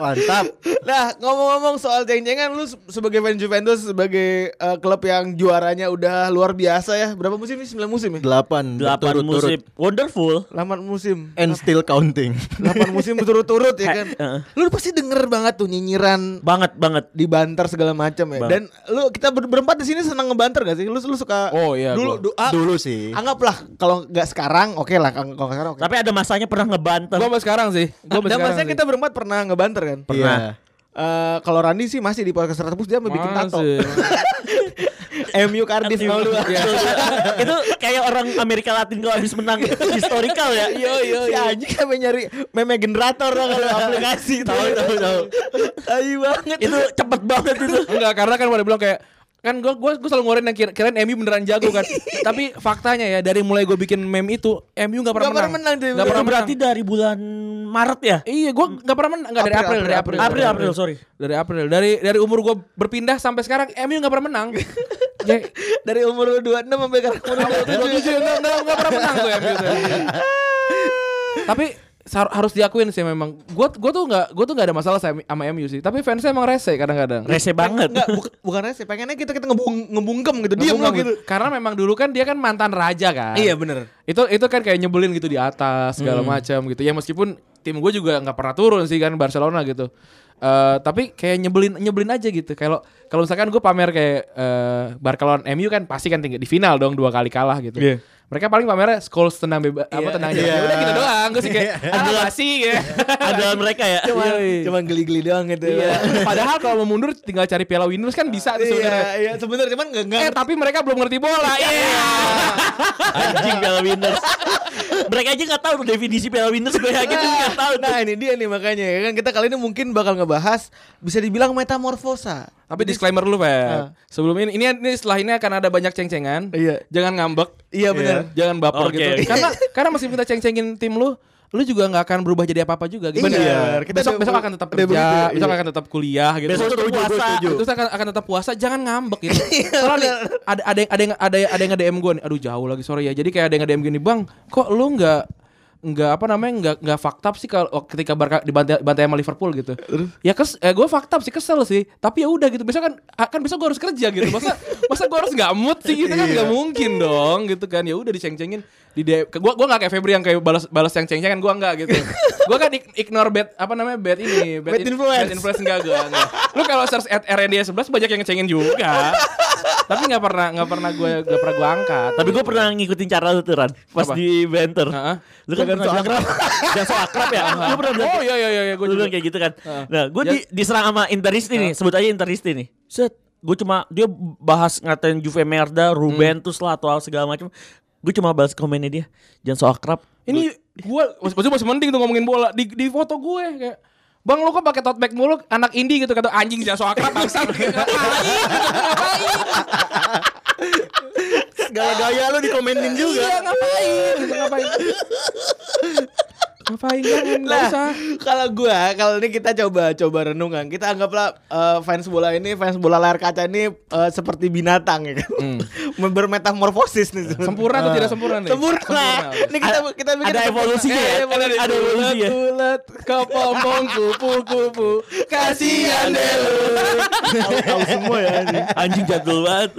Mantap.
Nah ngomong-ngomong soal ceng-cengan Lu se- sebagai fan Juventus Sebagai eh, klub yang juaranya udah luar biasa ya Berapa musim ini? 9 musim ya?
Delapan
delapan
berturut-turut.
musim wonderful.
8 musim
Eh.
and still counting.
8 musim berturut-turut ya kan
Heeh.
Lu pasti denger banget tuh nyinyiran
Banget banget.
Dibanter segala macam ya
Banget.
Dan lu kita ber- berempat di sini senang ngebanter gak sih? Lu, lu suka
Oh, iya,
Dulu
gua.
du- ah,
Dulu sih.
Anggaplah kalau nggak sekarang oke lah kalau nggak sekarang oke.
Tapi ada masanya pernah ngebanter.
Gua sampai sekarang sih. Gua sampai
Dan
sekarang.
maksudnya
sih.
kita berempat pernah ngebanter kan?
Iya.
Eh, kalau Randi sih masih di podcast 100 dia mau bikin tato.
Masih.
MU Cardiff 02.
Iya.
itu kayak orang Amerika Latin kalau habis menang historical ya. Iya iya.
Si anjing sampe nyari meme generator lah kalau aplikasi tahu tahu tahu. Tai banget.
Itu cepet banget itu.
Enggak, karena kan pada bilang kayak kan gue gua, gua selalu ngorein yang kira kirain MU beneran jago kan. Tapi faktanya ya dari mulai gue bikin meme itu MU
Nggak
nggak pernah
pernah menang
menang.
dia.
Nggak pernah
Itu berarti
menang.
dari bulan Maret ya?
Iya, gue nggak pernah menang. Nggak dari
April,
April, dari
April,
April.
April April sorry.
Dari April. Dari dari umur gue berpindah sampai sekarang MU nggak pernah menang. Ya,
Dari umur lu 26 sampai sekarang umur lu 27.
nggak nggak- nggak pernah menang tuh MU. tuh. Tapi sar- harus diakuin sih memang. Gue gua tuh nggak gue tuh nggak ada masalah sama, sama MU sih. Tapi fansnya emang rese kadang-kadang.
Rese banget.
Enggak, bukan bukannya sih pengennya kita kita ngebung ngebungkem gitu. Diam lu
Ngebungkam
gitu. Iya,
gitu. Karena memang dulu kan dia kan mantan raja kan.
bener
itu itu kan kayak nyebelin gitu di atas segala macam gitu ya meskipun tim gue juga nggak pernah turun sih kan Barcelona gitu Eh, tapi kayak nyebelin nyebelin aja gitu kalau kalau misalkan gue pamer kayak eh Barcelona MU kan pasti kan tinggal di final dong dua kali kalah gitu mereka paling pamernya Scholes tenang bebas apa tenang aja. Ya udah gitu doang. Gue sih kayak ada sih ya.
Andalan mereka ya.
Yoi.
Cuman geli-geli doang gitu.
Iya. Padahal kalau mau mundur tinggal cari Piala Winners kan bisa tuh
Iya,
sebenarnya.
iya sebenarnya cuman enggak enggak
Eh tapi mereka belum ngerti bola. Iya.
Anjing Piala Winners. Mereka aja nggak tahu tuh definisi Piala Winners gue yakin tuh gitu, nggak tahu tuh.
Nah ini dia nih makanya ya kan kita kali ini mungkin bakal ngebahas bisa dibilang metamorfosa.
Tapi disclaimer dulu, Feb. Sebelum ini, ini ini setelah ini akan ada banyak
Ah.
ceng-cengan.
Iya.
Jangan ngambek.
Iya, benar.
Jangan baper
Oke,
gitu.
oke.
Karena karena masih minta ceng-cengin tim lu, lu juga nggak akan berubah jadi apa-apa juga gitu.
Benar. Iya. Kita
besok
udah-
besok akan tetap
udah
kerja,
begitu,
besok
iya.
akan tetap kuliah gitu.
Besok tetap puasa.
Terus akan akan tetap puasa, jangan ngambek gitu. Soalnya nih, ada ada yang ada yang ada yang, ada yang nge-DM gue nih. Aduh, jauh lagi sorry ya. Jadi kayak ada yang nge-DM gini, "Bang, kok lu nggak nggak apa namanya nggak nggak fucked up sih kalau ketika Barca dibantai bantai sama Liverpool gitu. Ya kes eh, gue fucked up sih kesel sih. Tapi ya udah gitu. Besok kan akan besok gue harus kerja gitu. Masa masa gue harus nggak mood sih gitu kan nggak mungkin dong gitu kan. Ya udah diceng-cengin di DM. Gue gue nggak kayak Febri yang kayak balas balas yang ceng-cengan gue nggak gitu. gue kan ig- ignore bad apa namanya bad ini bad, in-
influence.
bad influence enggak gue. enggak. Lu kalau search at RND 11 banyak yang ngecengin juga. Tapi nggak pernah nggak pernah gue nggak pernah gue angkat.
Tapi gue pernah ngikutin cara lu tuh Ran Pas
Apa?
di Banter
Heeh.
Lu kan pernah bilang- Jangan so akrab ya Lu pernah bilang
Oh iya iya iya gue
Lu
juga
bilang kayak gitu kan
Heeh.
Nah gue
Ya.
di, diserang sama Interisti nih Sebut aja Interisti nih Set Gue cuma Dia bahas ngatain Juve Merda
Hmm.
Rubentus lah Atau segala macam Gue cuma balas komennya dia Jangan so akrab
Ini gue maksudnya masih mending tuh ngomongin bola di di foto gue kayak Bang lu kok pakai tote bag mulu anak indie gitu kata anjing jangan so akrab Gitu, bangsa.
Gaya gaya lu dikomenin juga.
Iya ngapain? Ngapain? ngapain jangan enggak
Nah,
usah.
Kalau gua kalau ini kita coba coba renungan. Kita anggaplah eh, fans bola ini fans bola layar kaca ini eh, seperti binatang ya kan. Bermetamorfosis nih. sebenarnya.
Sempurna atau tidak sempurna nih?
Sempurna. Ah, Ini kita kita bikin
ada evolusinya
Eh,
ya?
iya,
evolusi.
Ada- ada evolusinya.
Gitu. Bulat kepompong kupu-kupu. Kasihan deh lu.
Tahu semua ya anjing. Anjing jadul banget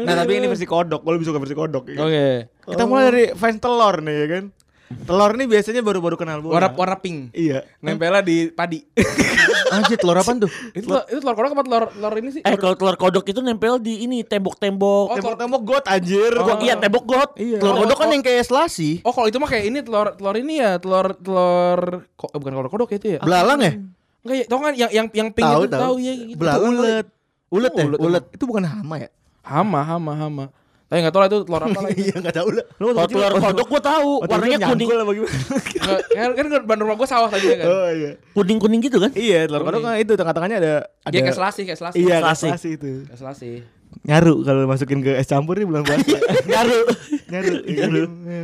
Eh,
Nah, tapi ini versi kodok. Gua lebih suka versi kodok. ya kan?
Oke.
Kita mulai dari fans telur nih ya kan. Telur nih biasanya baru-baru kenal bola.
Warna-warna pink.
Iya.
Nempelnya di padi.
Anjir telur apaan tuh?
itu telur- itu telur kodok apa telur telur ini sih?
Eh kalau telur kodok itu nempel di ini
Oh,
Tembok-tembok
Iya. telur-
Tembok-tembok got anjir.
Gua- Iya tembok got
Telur kodok kan yang kayak selasi.
Oh kalau itu mah kayak ini telur telur ini ya telur telur kok eh, bukan kodok kodok ya itu ya.
Belalang ya?
Enggak ya, tau kan yang yang yang pink
Tahu
itu
tahu.
tahu ya gitu.
Belalang ulet. Ulet ya?
Oh, ulet.
Ulet. Itu bukan hama ya?
Hama hama hama. Tapi enggak tahu lah itu telur apa lagi.
Iya enggak tahu lah.
Kalau telur kodok gue tahu
Oh,
Warnanya kuning
Kan kan ban rumah gua sawah tadi kan.
Oh iya.
Kuning-kuning gitu kan
Iya, telur kodok kan itu tengah-tengahnya ada ada
Dia kayak selasih kayak selasih.
Iya,
Selasi.
selasi itu.
Kayak selasih.
Nyaru kalau masukin ke es campur nih bulan puasa.
Nyaru
Nyaru.
Nyaru.
nah,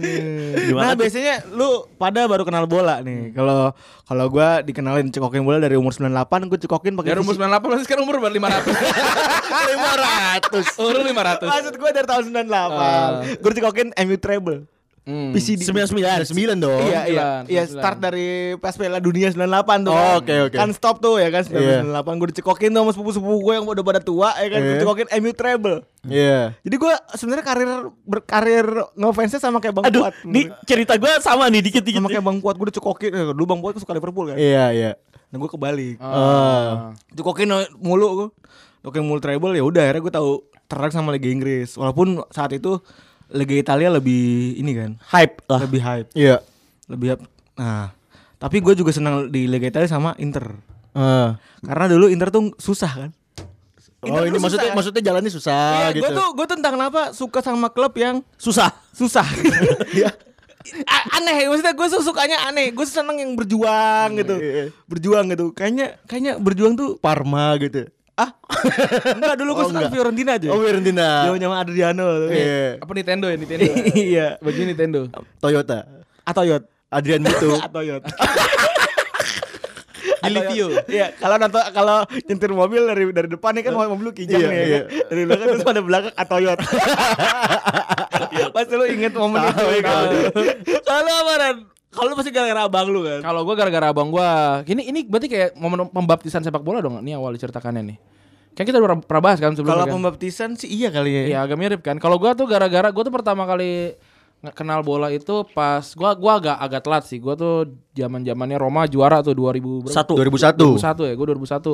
Gimana tuh?
biasanya lu pada baru kenal bola nih. Kalau kalau gua dikenalin cekokin bola dari umur 98, gua cekokin pakai
Dari umur 98 berarti sekarang umur berapa? 500. 500. Umur lu 500.
Maksud gua dari tahun 98. Gua cekokin MU treble.
Hmm.
PCD.
99
Oh, Sembilan dong.
Iya, iya.
99.
Iya, start dari pas Piala Dunia 98 tuh.
Oh,
kan.
oke, oke.
Kan stop tuh ya kan 98
Iya.
gue dicekokin tuh sama sepupu-sepupu gue yang udah pada tua ya kan. Gue
Iya.
cekokin MU treble.
Iya.
Jadi gue sebenarnya karir berkarir ngefans sama kayak Bang
Aduh,
Kuat.
nih gitu. cerita gue sama nih dikit-dikit.
sama kayak Bang Kuat gue dicekokin. Eh, Dulu Bang Kuat suka Liverpool kan.
Iya, iya.
Nah, gue kebalik.
Ah.
Cekokin mulu gue. Cekokin mulu treble ya udah akhirnya gue tahu tertarik sama Liga Inggris. Walaupun saat itu Liga Italia lebih ini kan.
hype lah.
Lebih hype.
Iya.
lebih ap- nah tapi gue juga senang di Liga Italia sama Inter
Ah.
karena dulu Inter tuh susah kan
Oh ini maksudnya maksudnya jalannya susah gitu.
gue tuh gue tuh entah kenapa suka sama klub yang
Susah.
susah
Iya.
A- aneh maksudnya gue sukanya aneh gue seneng yang berjuang
Hmm,
gitu
iya,
berjuang gitu kayaknya kayaknya berjuang tuh
Parma gitu.
ah enggak dulu gue
Oh,
suka
enggak.
Fiorentina aja
Oh Fiorentina.
jauh sama Adriano tuh.
Iya.
Apa Nintendo ya Nintendo?
iya
Baju Nintendo.
Toyota.
atau Yot
Adrian Mutu.
atau Yot
Dilivio.
Iya, kalau nonton kalau nyetir mobil dari dari depan nih kan mobil lu kijang
Iya,
nih. ya
iya.
kan? Dari belakang terus pada belakang ah, atoyot. Pasti lu inget momen itu. kan?
Kalau apa Ran? Kalau pasti gara-gara abang lu kan.
Kalau gue gara-gara abang gue Ini ini berarti kayak momen pembaptisan sepak bola dong Ini awal diceritakannya nih Kan kita udah pernah bahas kan sebelumnya
Kalau
kan?
pembaptisan sih iya kali ya.
Iya agak mirip kan. Kalau gua tuh gara-gara gua tuh pertama kali nge- kenal bola itu pas gua gua agak agak telat sih. Gua tuh zaman-zamannya Roma juara tuh 2000 berapa?
Satu.
2001.
2001 ya, gua 2001.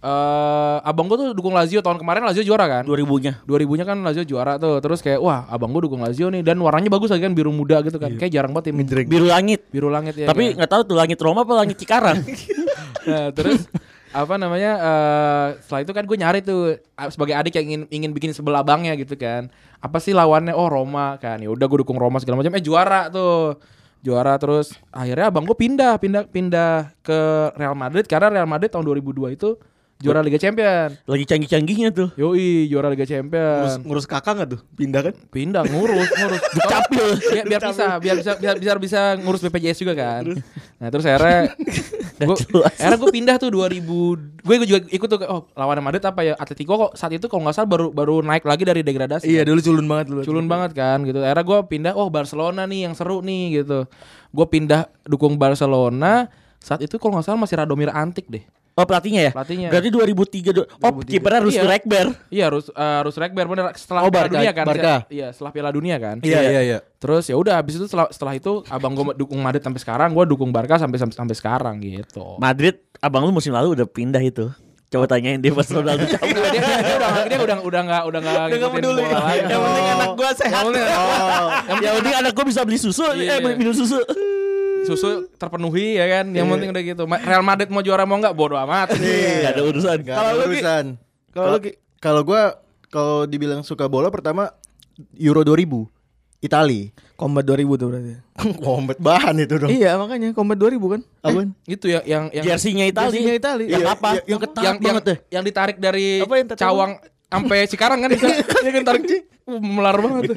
eh abang gue tuh dukung Lazio tahun kemarin Lazio juara kan
2000-nya.
2000-nya kan Lazio juara tuh terus kayak wah abang gue dukung Lazio nih dan warnanya bagus lagi kan biru muda gitu
Iya.
kan kayak jarang banget tim
Biru langit.
biru langit ya kan?
Tapi nggak tahu tuh langit Roma apa langit Cikarang.
Nah, terus apa namanya eh setelah itu kan gue nyari tuh ah, sebagai adik yang ingin ingin bikin sebelah abangnya gitu kan apa sih lawannya oh Roma kan ya udah gue dukung Roma segala macam eh juara tuh juara terus akhirnya abang gue pindah pindah pindah ke Real Madrid karena Real Madrid tahun 2002 itu juara Liga Champion
Lagi canggih-canggihnya tuh.
Yoi juara Liga
Ngurus,
Champion
ngurus kakak nggak tuh? Pindah kan?
pindah ngurus ngurus dicapil ya, biar bisa biar bisa biar bisa bisa ngurus BPJS juga kan nah terus akhirnya gue akhirnya gue pindah tuh 2000 gue juga ikut tuh oh lawan Madrid apa ya Atletico kok saat itu kalau nggak salah baru baru naik lagi dari degradasi
Iya dulu culun banget dulu.
culun banget kan gitu akhirnya gue pindah oh Barcelona nih yang seru nih gitu gue pindah dukung Barcelona saat itu kalau nggak salah masih Radomir Antik deh
Oh pelatihnya ya?
Pelatihnya.
Berarti 2003 du- Oh kipernya harus
Iya.
Rekber.
Iya, Rus uh, Rus Rekber bener setelah
Oh,
Piala
Barca-
dunia kan.
Barca.
Iya, setelah Piala Dunia kan.
Iya, iya, iya.
Terus ya udah habis itu setelah, setelah itu abang gua dukung Madrid sampai sekarang, gua dukung Barca sampai sampai, sampai sekarang gitu.
Madrid, abang lu musim lalu udah pindah itu. Coba tanyain dia pas Ronaldo cabut.
Dia, dia, dia udah dia udah udah enggak udah enggak ngikutin bola lagi.
Yang penting anak gua sehat. Yang Ya, penting anak gua bisa beli susu,
Iya.
eh beli minum susu.
Susu terpenuhi ya kan. Yang penting udah gitu. Ma- Real Madrid mau juara mau enggak bodo amat.
Gak ada urusan.
Nggak ada urusan. Kalau lu Ki- kalau gua kalau dibilang suka bola pertama Euro 2000 Itali.
Combat 2000 tuh berarti.
Kombet bahan itu dong.
Iya makanya Combat 2000 kan.
Apaan?
Itu ya yang yang
Jersinya Itali.
Jersinya Itali.
Yang
Iya,
apa?
Ya, yang ketat
yang yang,
banget deh.
yang ditarik dari
Apa yang tadi?
cawang sampai sekarang kan bisa. Dia kan tarik Uh, melar banget.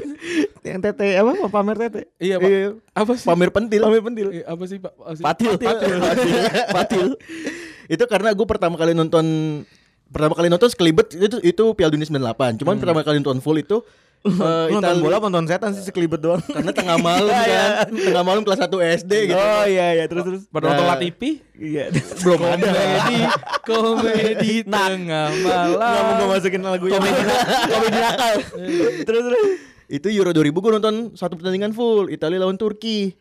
Yang tete apa? Pamer tete.
Iya, Pak. Apa sih?
Pamer pentil.
Pamer pentil.
Eh, apa sih Pak? Apa sih?
Patil. Patil. Patil.
itu karena gue pertama kali nonton pertama kali nonton sekelibet itu itu Piala Dunia 98. Cuman pertama kali nonton full itu eh,
Hmm. Lu nonton
Itali.
bola apa nonton setan sih sekelibet doang.
karena tengah malam kan. tengah malam kelas 1 SD gitu.
Oh iya iya terus terus.
Pada nonton
Nah.
Latifi?
Iya.
Belum ada.
Komedi, komedi tengah malam.
Kamu gak masukin lagu yang
Komedi nakal.
terus terus.
Itu Euro 2000 gue nonton satu pertandingan full Italia lawan Turki.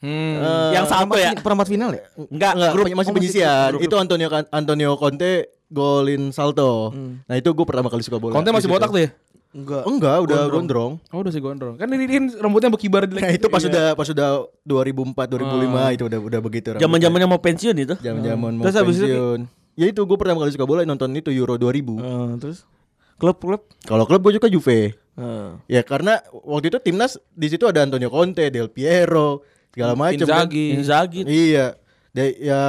Hmm.
Eh,
Yang salto ya?
Perempat final ya?
Enggak,
Enggak,
grup
masih penyisian. Itu Antonio Kan, Antonio Conte golin salto.
Hmm.
Nah, itu gue pertama kali suka bola.
Konten masih
Di situ.
botak tuh ya?
Enggak.
Enggak, udah gondrong.
Oh udah sih gondrong. Kan ini kan rambutnya berkibar di
Nah, itu pas udah pas udah 2004 2005 itu udah udah begitu rambutnya.
Zaman-zamannya mau pensiun itu.
zaman-zaman mau
Terus habis itu-
pensiun. Ya itu gue pertama kali suka bola nonton itu Euro 2000.
Eh, terus klub-klub
Kalau klub gue juga Juve.
eh,
Ya karena waktu itu timnas di situ ada Antonio Conte, Del Piero, segala macam. kan.
Inzaghi.
Inzaghi.
Iya. Dia- ya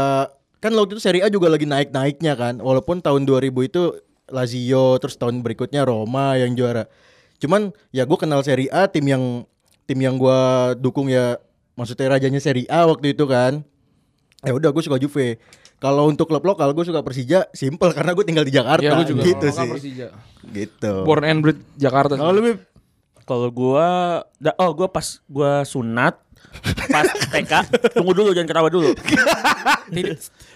kan waktu itu Serie A juga lagi naik-naiknya kan. Walaupun tahun 2000 itu Lazio terus tahun berikutnya Roma yang juara. Cuman ya gue kenal Serie A tim yang tim yang gua dukung ya maksudnya rajanya Serie A waktu itu kan. Ya udah gue suka Juve. Kalau untuk klub lokal gue suka Persija, simple karena gue tinggal di Jakarta
Iya gue juga.
gitu
Orang
sih.
Persija.
Gitu.
Born and bred Jakarta. Kalau Oh, lebih
Kalau gua da- oh gua pas gua sunat pas TK tunggu dulu jangan ketawa dulu.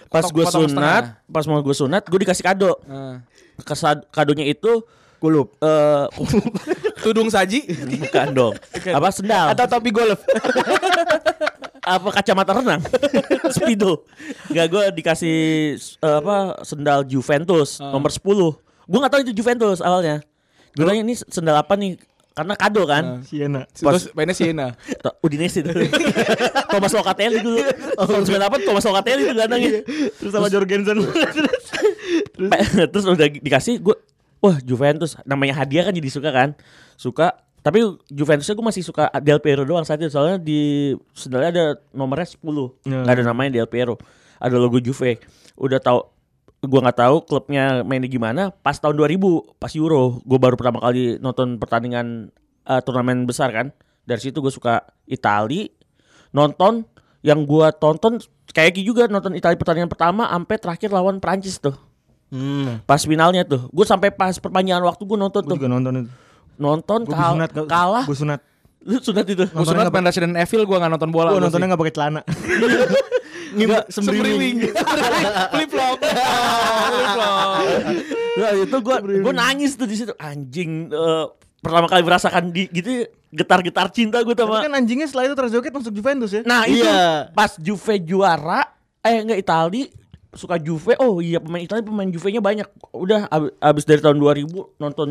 Pas gua sunat, pas mau gua sunat, gua dikasih kado.
Ah.
Kesad- kadonya itu
Kulup.
eh
Tudung saji.
bukan dong. Apa sendal?
atau topi golf
apa kacamata renang speedo nggak gue dikasih s- eh, apa sendal Juventus nomor 10 gue nggak tahu itu Juventus awalnya gue nanya ini sendal apa nih karena kado kan
Siena
Terus mainnya Siena.
Ta- Udinese itu Thomas Locatelli dulu Tahun 98 Thomas Locatelli itu gelandangnya
terus sama Jorgensen
Pe- terus udah di- dikasih gue wah Juventus namanya hadiah kan jadi suka kan suka tapi Juventusnya gue masih suka Del Piero doang saat itu soalnya di sebenarnya ada nomornya 10 nggak ada namanya Del Piero ada logo Juve udah tahu gue nggak tahu klubnya mainnya gimana pas tahun 2000 pas Euro gue baru pertama kali nonton pertandingan eh, turnamen besar kan dari situ gue suka Itali nonton yang gue tonton kayak Ki juga nonton Itali pertandingan pertama sampai terakhir lawan Prancis tuh
Hmm.
pas finalnya tuh gue sampai pas perpanjangan waktu gue nonton tuh
juga nonton itu
nonton
gue
kal-
sunat
kalah
gue sunat
lu sunat itu
Gue sunat main Resident Evil gue gak nonton bola.
gue
gua
nontonnya
sih.
nggak pakai celana
Nggak, sembriwing.
Flip flop. Flip flop.
Lah, Ya, itu gue gue nangis tuh di situ anjing eh, pertama kali merasakan di gitu getar-getar cinta gue
tapi
sama
kan anjingnya setelah itu terjoget masuk Juventus ya
nah itu
Iya.
pas Juve juara eh enggak Itali suka Juve, oh iya pemain Italia pemain Juve-nya banyak. Udah ab- abis dari tahun 2000 nonton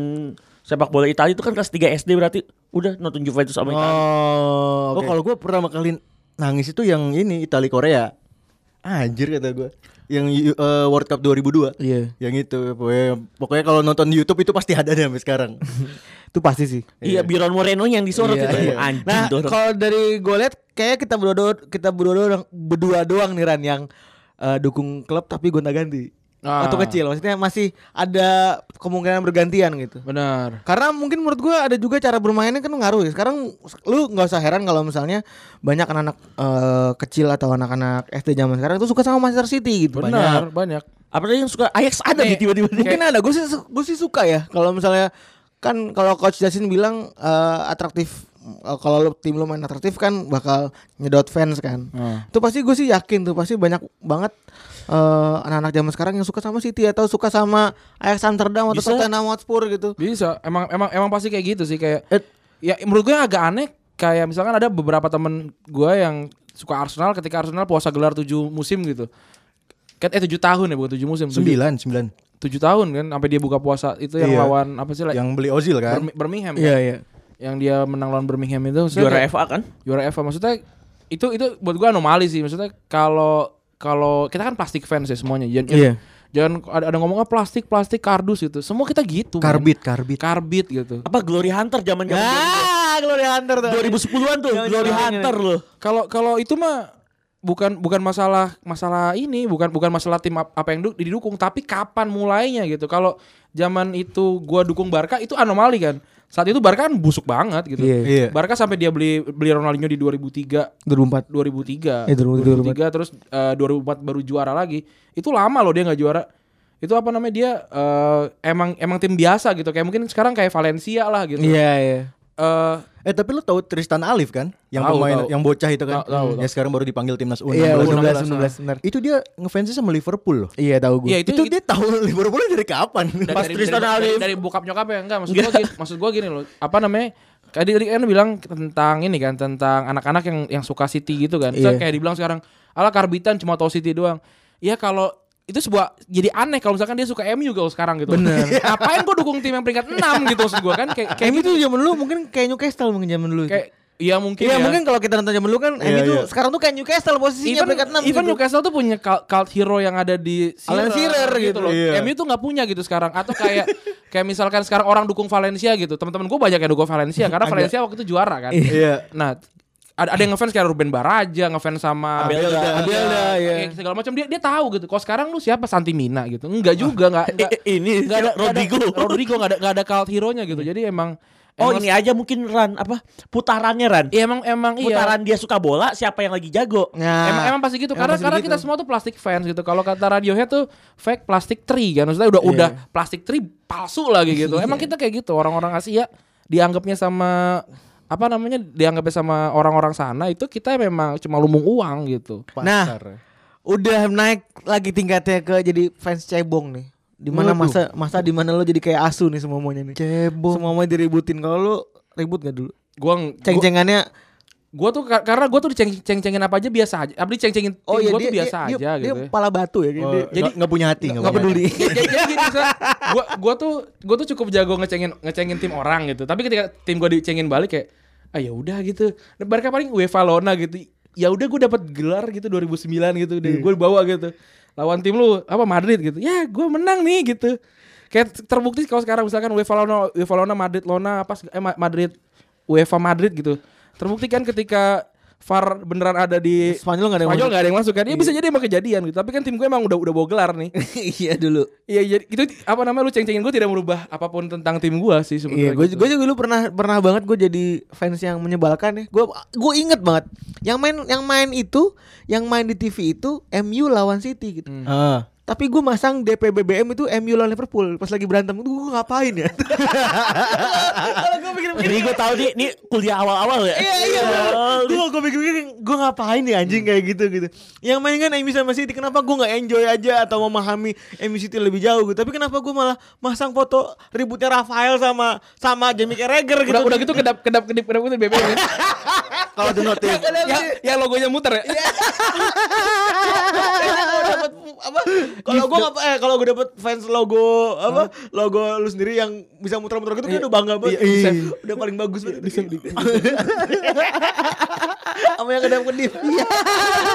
sepak bola Italia itu kan kelas 3 SD berarti udah nonton Juve itu sama Italia.
Oh,
oke.
kalau gue pertama kali nangis itu yang ini Itali Korea. Anjir kata gue. Yang eh, World Cup 2002.
Iya.
Yang itu pokoknya, pokoknya kalau nonton di YouTube itu pasti ada deh sampai sekarang.
Itu pasti sih.
Iya, Biron Moreno yang disorot
Iya,
itu.
iya.
Anjing
Nah,
dorong.
kalau dari gue lihat kayak kita berdua doang- kita berdua doang, berdua doang nih Ran yang eh, dukung klub tapi gonta-ganti.
Ah.
Atau kecil, maksudnya masih ada kemungkinan bergantian gitu.
Benar.
Karena mungkin menurut gua ada juga cara bermainnya kan ngaruh ya. Sekarang lu nggak usah heran kalau misalnya banyak anak-anak eh, kecil atau anak-anak SD zaman sekarang itu suka sama Manchester City gitu.
Benar, banyak.
Apalagi yang suka Ajax ada nih tiba-tiba.
Mungkin ada. Gue sih gue sih suka ya kalau misalnya kan kalau coach Justin bilang eh, atraktif eh, kalau lu- tim lu main atraktif kan bakal nyedot fans kan. Itu pasti gue sih yakin tuh pasti banyak banget eh, anak-anak zaman sekarang yang suka sama City atau suka sama Ajax Amsterdam atau
Bisa.
Tottenham Hotspur gitu.
Bisa. Emang emang emang pasti kayak gitu sih kayak ya menurut gue yang agak aneh kayak misalkan ada beberapa temen gue yang suka Arsenal ketika Arsenal puasa gelar 7 musim gitu. Kat eh 7 tahun ya bukan 7 musim. 7
Sembilan, sembilan.
tahun kan sampai dia buka puasa itu yang
Iya.
lawan apa sih lah
Yang beli Ozil kan.
Birmi- Birmingham. ya?
Iya iya.
Yang dia menang lawan Birmingham itu maksudnya
Juara
kayak-
FA kan?
juara FA maksudnya itu itu buat gua anomali sih maksudnya kalau kalau kita kan plastik fans ya semuanya jangan
Iya.
jangan ada, ada ngomongnya plastik plastik kardus gitu semua kita gitu men.
Karbit, karbit.
karbit gitu
Apa Glory Hunter zaman zaman
Ah, Glory Hunter tuh.
2010-an tuh Glory Hunter loh.
kalau kalau itu mah bukan bukan masalah masalah ini bukan bukan masalah tim ap- apa yang du- didukung tapi kapan mulainya gitu kalau zaman itu gua dukung Barca itu anomali kan saat itu Barca kan busuk banget gitu
Iya.
Barca sampai dia beli beli Ronaldinho di 2003
2004.
2003.
Eh, 2003,
2003 terus eh, 2004 baru juara lagi. Itu lama loh dia nggak juara. Itu apa namanya dia eh, emang emang tim biasa gitu. Kayak mungkin sekarang kayak Valencia lah gitu.
Iya iya.
Eh,
Eh tapi lu tahu Tristan Alif kan?
Tahu,
Yang pemain
tahu.
yang bocah itu kan.
Tahu, tahu,
Ya sekarang baru dipanggil timnas U16.
Iya,
16,
16 16
16,
benar.
Itu dia ngefansnya sama Liverpool loh.
Iya tahu gue.
Iya itu,
Itu, dia tahu Liverpool dari kapan?
dari,
Mas
dari-
Tristan
dari-
Alif.
dari bokap nyokapnya ya? enggak maksud gua gini, maksud gua gini loh. Apa namanya? Tadi tadi kan bilang tentang ini kan tentang anak-anak yang yang suka City gitu kan. Terus kayak dibilang sekarang ala karbitan cuma tau City doang. Ya kalau itu sebuah jadi aneh kalau misalkan dia suka MU kalau sekarang gitu. Bener. Ngapain gua dukung tim yang peringkat 6 gitu maksud gua kan kayak kayak
Emi tuh zaman dulu mungkin kayak Newcastle mungkin zaman dulu.
kayak iya mungkin
Iya
ya.
mungkin kalau kita nonton zaman dulu kan Emi
Iya,
tuh
iya.
sekarang tuh kayak Newcastle posisinya
Even,
peringkat 6
even Newcastle tuh punya cult, cult hero yang ada di
gitu. Alan Shearer gitu.
loh.
Iya.
MU tuh nggak punya gitu sekarang. Atau kayak kayak misalkan sekarang orang dukung Valencia gitu. Teman-teman gue banyak yang dukung Valencia karena Valencia waktu itu juara kan.
Iya.
Nah, ada, ada yang ngefans kayak Ruben Baraja, ngefans sama
Belda.
Abelda, kayak segala macam dia dia tahu gitu. Kalau sekarang lu siapa Santi Mina gitu. Enggak juga enggak enggak
Eh, Ini
enggak ada
Iya. Rodrigo.
nggak ada- Rodrigo enggak ada enggak ada cult hero-nya gitu. Jadi emang
Oh
emang-
ini aja mungkin Ran apa putarannya Ran.
Iya emang emang iya.
Putaran dia suka bola siapa yang lagi jago.
Nah.
Emang, emang pasti gitu karena karena kita semua tuh plastik fans gitu. Kalau kata Radiohead tuh fake plastic tree kan. Maksudnya udah udah plastik tree palsu lagi gitu. Emang kita kayak gitu orang-orang Asia dianggapnya sama apa namanya dianggapnya sama orang-orang sana itu kita memang cuma lumung uang gitu.
Pasar.
Nah, udah naik lagi tingkatnya ke jadi fans cebong nih. Di mana masa masa di mana lo jadi kayak asu nih semuanya nih. Cebong. Semuanya direbutin kalau lo ribut gak dulu?
Gua ng- gua,
Ceng-cengannya
gua tuh ka- karena gua tuh diceng-cengin apa aja biasa aja. Apa diceng-cengin tim
oh ya
gua
dia
tuh iya, biasa
dia,
aja
dia,
gitu.
dia pala batu ya kayak dia.
jadi nggak punya hati,
Nggak peduli.
jadi jadi Ya, gini misalnya, gua gua tuh gua tuh cukup jago ngecengin ngecengin tim orang gitu. Tapi ketika tim gua dicengin balik kayak ah ya udah gitu. Nah, Barca paling UEFA Lona gitu. Ya udah gua dapat gelar gitu 2009 gitu
Hmm.
dan gua bawa gitu. Lawan tim lu apa Madrid gitu. Ya gua menang nih gitu. Kayak terbukti kalau sekarang misalkan UEFA Lona UEFA Lona Madrid Lona apa seg- eh Ma- Madrid UEFA Madrid gitu. Terbukti kan ketika VAR beneran ada di
Spanyol nggak ada yang
Spanyol nggak ada yang masuk kan? Ya bisa jadi emang kejadian gitu. Tapi kan tim gue emang udah udah bawa gelar nih.
Iya dulu.
Iya jadi itu apa namanya lu ceng-cengin gue tidak merubah apapun tentang tim gue
Iya,
sih sebenarnya.
gue
gitu.
gue juga dulu pernah pernah banget gue jadi fans yang menyebalkan ya. Gue gue inget banget yang main yang main itu, yang main di TV itu MU lawan City gitu.
Hmm.
Ah.
Tapi gue masang DPBBM itu MU lawan Liverpool pas lagi berantem itu gue ngapain ya? Kalau gue pikir
Jadi gue tahu nih ini kuliah awal-awal ya.
Iya iya. Gue gue pikir pikir gue ngapain ya anjing kayak gitu gitu. Yang main kan MU sama City kenapa gue nggak enjoy aja atau memahami MU City lebih jauh gitu. Tapi kenapa gue malah masang foto ributnya Rafael sama sama Jamie Carragher gitu.
udah udah gitu kedap kedap kedip kedap kedip bebek.
Kalau The Notif.
yang, yang logonya muter ya?
Iya. dapat apa kalau gua nggak eh kalau gua dapat fans logo apa logo lu sendiri yang bisa muter-muter gitu kayak udah bangga banget
Iya.
udah paling bagus
gitu.
banget sama yang kedap kedip Iya.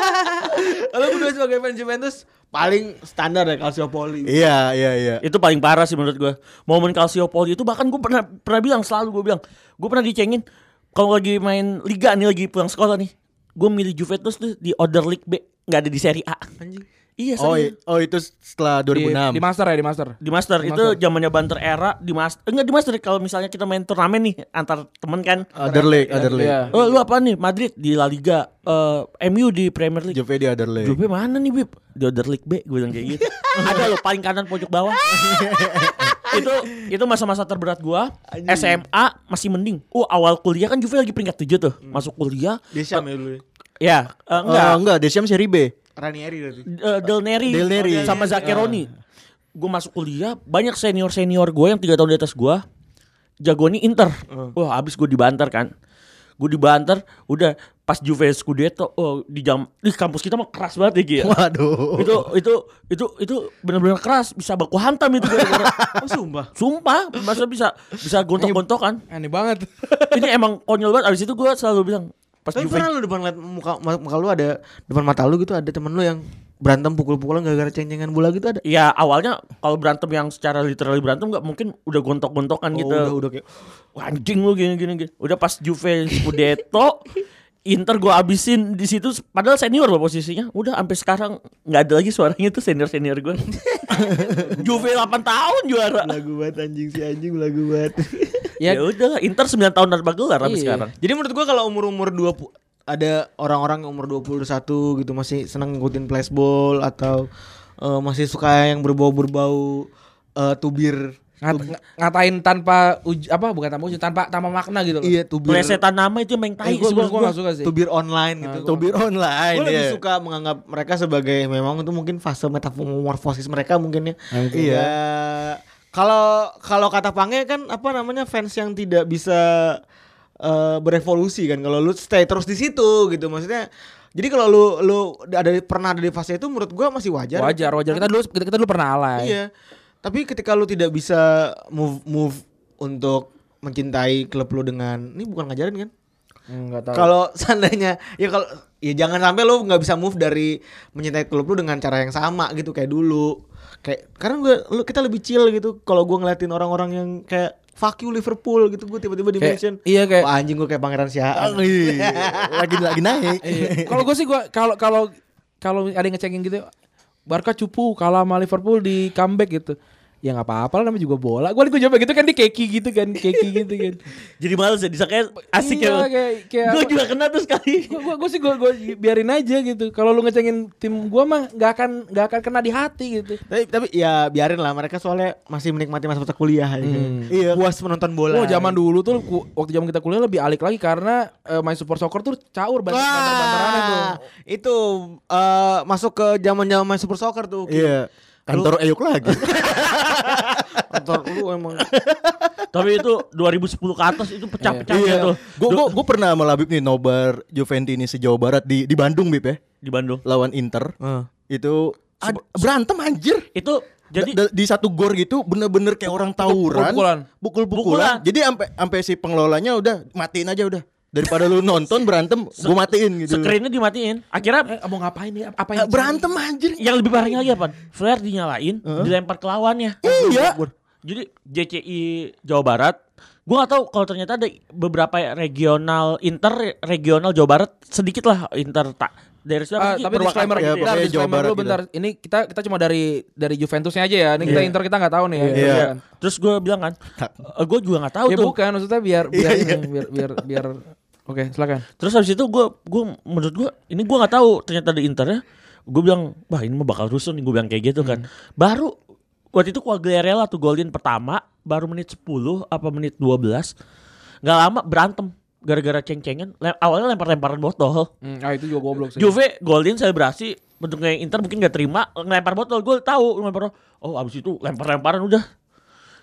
kalau gua sebagai fans Juventus paling standar ya Calciopoli
Iya, iya, iya.
Itu paling parah sih menurut gue. Momen Calciopoli itu bahkan gue pernah pernah bilang selalu gue bilang, gue pernah dicengin kalau lagi main liga nih lagi pulang sekolah nih, gue milih Juventus tuh di order League B, nggak ada di Serie A. Iya,
Oh, i-
serius.
oh itu setelah
Di, di
2006.
master ya, di master.
Di master,
Di
itu
master.
zamannya banter era di master. Enggak di master kalau misalnya kita main turnamen nih antar temen kan.
Other League, Other League.
Iya.
Oh, lu apa nih? Madrid di La Liga, eh, MU di Premier League.
Juve di Other League.
Juve mana nih Bib? Di order league B gue bilang kayak gitu. Ada lo paling kanan pojok bawah. itu itu masa-masa terberat gua SMA masih mending. Oh awal kuliah kan Juve lagi peringkat 7 tuh. Masuk kuliah.
Desham ya dulu ya.
Ya, eh, enggak.
Oh, enggak, Desiam seri B.
Ranieri berarti
Eh, Del Neri,
Del Neri.
sama Zaccheroni. Gue masuk kuliah, banyak senior-senior gue yang tiga tahun di atas gue jagoannya Inter. Wah, abis gue dibantar kan. Gue dibantar, udah pas Juve Scudetto oh, di jam di kampus kita mah keras banget ya Gi, ya.
Waduh.
itu itu itu itu benar-benar keras bisa baku hantam itu gara-gara
oh sumpah
sumpah masa bisa bisa gontok-gontokan
Aneh banget.
ini emang konyol banget abis itu gue selalu bilang pas
tapi
Juve
pernah lu depan liat muka ma- muka lu ada depan mata lu gitu ada temen lu yang berantem pukul-pukulan gara-gara ceng-cengan bola gitu ada
ya awalnya kalau berantem yang secara literally berantem nggak mungkin udah gontok-gontokan
Oh,
gitu
udah udah kayak
Wah, anjing lu gini gini gini udah pas Juve Scudetto Inter gue abisin di situ padahal senior loh posisinya udah sampai sekarang nggak ada lagi suaranya tuh senior senior gue Juve 8 tahun juara
lagu banget anjing si anjing lagu banget
Iya.
ya udah Inter 9 tahun tanpa gelar sampai
Iya.
sekarang
jadi menurut gua kalau umur-umur 20 ada orang-orang yang umur 21 gitu masih seneng ngikutin flashball atau eh, masih suka yang berbau-berbau eh, tubir
Ngat, ng- ngatain tanpa uj, apa bukan tanpa uji tanpa tanpa makna gitu loh.
iya tubir
Plesetan nama itu yang main tai
Eh, gua,
sih
gua,
menurut
gua
gua.
gak suka sih. Nah,
tubir online gitu
Tubir online.
Gue lebih
iya.
suka menganggap mereka sebagai memang itu mungkin fase metamorfosis mereka mungkin ya.
Iya.
Ya, Kalau kalau kata Pange kan apa namanya fans yang tidak bisa eh, berevolusi kan kalau lu stay terus di situ gitu maksudnya. Jadi kalau lu lu ada di- pernah ada di fase itu menurut gua masih wajar.
Wajar, wajar. Kita dulu kita, kita dulu pernah alay.
Iya. Tapi ketika lu tidak bisa move move untuk mencintai klub lu dengan ini bukan ngajarin kan?
Enggak Hmm, tahu.
Kalau seandainya ya kalau ya jangan sampai lo nggak bisa move dari mencintai klub lu dengan cara yang sama gitu kayak dulu. Kayak karena gue lu kita lebih chill gitu kalau gue ngeliatin orang-orang yang kayak fuck you Liverpool gitu gue tiba-tiba di
Kayak-
mention.
iya, kayak-
Wah, anjing gue kayak pangeran siaan.
Iya. lagi lagi naik.
Iya. kalau gue sih gue kalau kalau kalau ada yang ngecengin gitu Barca cupu kalah sama Liverpool di comeback gitu ya nggak apa-apa lah namanya juga bola gue gue jawab gitu kan dia keki gitu kan keki gitu kan
Jadi males ya disangkanya asik
Iya,
ya.
kayak- kayak
Gue
apa-
juga kena tuh sekali.
gue gue sih gue gue biarin aja gitu kalau lu ngecengin tim gue mah nggak akan nggak akan kena di hati gitu
Tapi tapi ya biarin lah mereka soalnya masih menikmati masa-masa kuliah ya.
Iya.
Puas menonton bola.
Oh zaman dulu tuh ku- waktu zaman kita kuliah lebih alik lagi karena eh, main support soccer tuh caur banter banterannya tuh.
Wah, itu eh, masuk ke zaman-zaman main super soccer tuh.
Iya. Kantor Eyuk lagi.
Kantor lu emang
Tapi itu 2010 ke atas itu pecah-pecahnya
Iya.
tuh.
Gue gue gue pernah sama Labib nih nobar Juventini sejauh barat di di Bandung Bib ya
Di Bandung.
lawan Inter.
Heeh.
Itu ad- berantem anjir.
Itu
Jadi
jadi
di satu gor gitu bener-bener kayak orang tawuran.
pukul-pukulan.
Pukul-pukulan. Jadi sampai sampai si pengelolanya udah matiin aja udah. Daripada lu nonton berantem, gue matiin gitu.
screennya dimatiin. Akhirnya
Eh, mau ngapain nih? Apa
Eh,
yang
Berantem anjir.
yang lebih parahnya lagi apa? Flare dinyalain, dilempar ke lawannya.
Iya.
Jadi JCI Jawa Barat Gue gak tahu kalau ternyata ada beberapa regional inter regional Jawa Barat sedikit lah inter tak
Ah,
dari siapa sih?
tapi
Purwakarta
disclaimer,
ya,
gitu ya.
bentar,
pokoknya Jawa
disclaimer
Barat
dulu bentar. Ini kita kita cuma dari dari Juventusnya aja ya. Ini kita Inter kita nggak tahu nih ya.
Iya.
Iya kan?
Terus gue bilang kan, "Eh, gue juga nggak tahu
Ya
tuh.
bukan maksudnya biar biar
Iya.
biar biar, biar Oke, silakan.
Terus habis itu gue gue menurut gue ini gue nggak tahu ternyata di internya gue bilang wah ini mah bakal rusuh nih gue bilang kayak gitu kan.
Hmm.
Baru waktu itu Quagliarella tuh golin pertama baru menit 10 apa menit 12 nggak lama berantem gara-gara ceng-cengan Lem- awalnya lempar-lemparan botol.
Hmm, ah itu juga goblok sih.
Juve golin selebrasi bentuknya Inter mungkin gak terima ngelempar botol gue tahu ngelempar botol. oh abis itu lempar-lemparan udah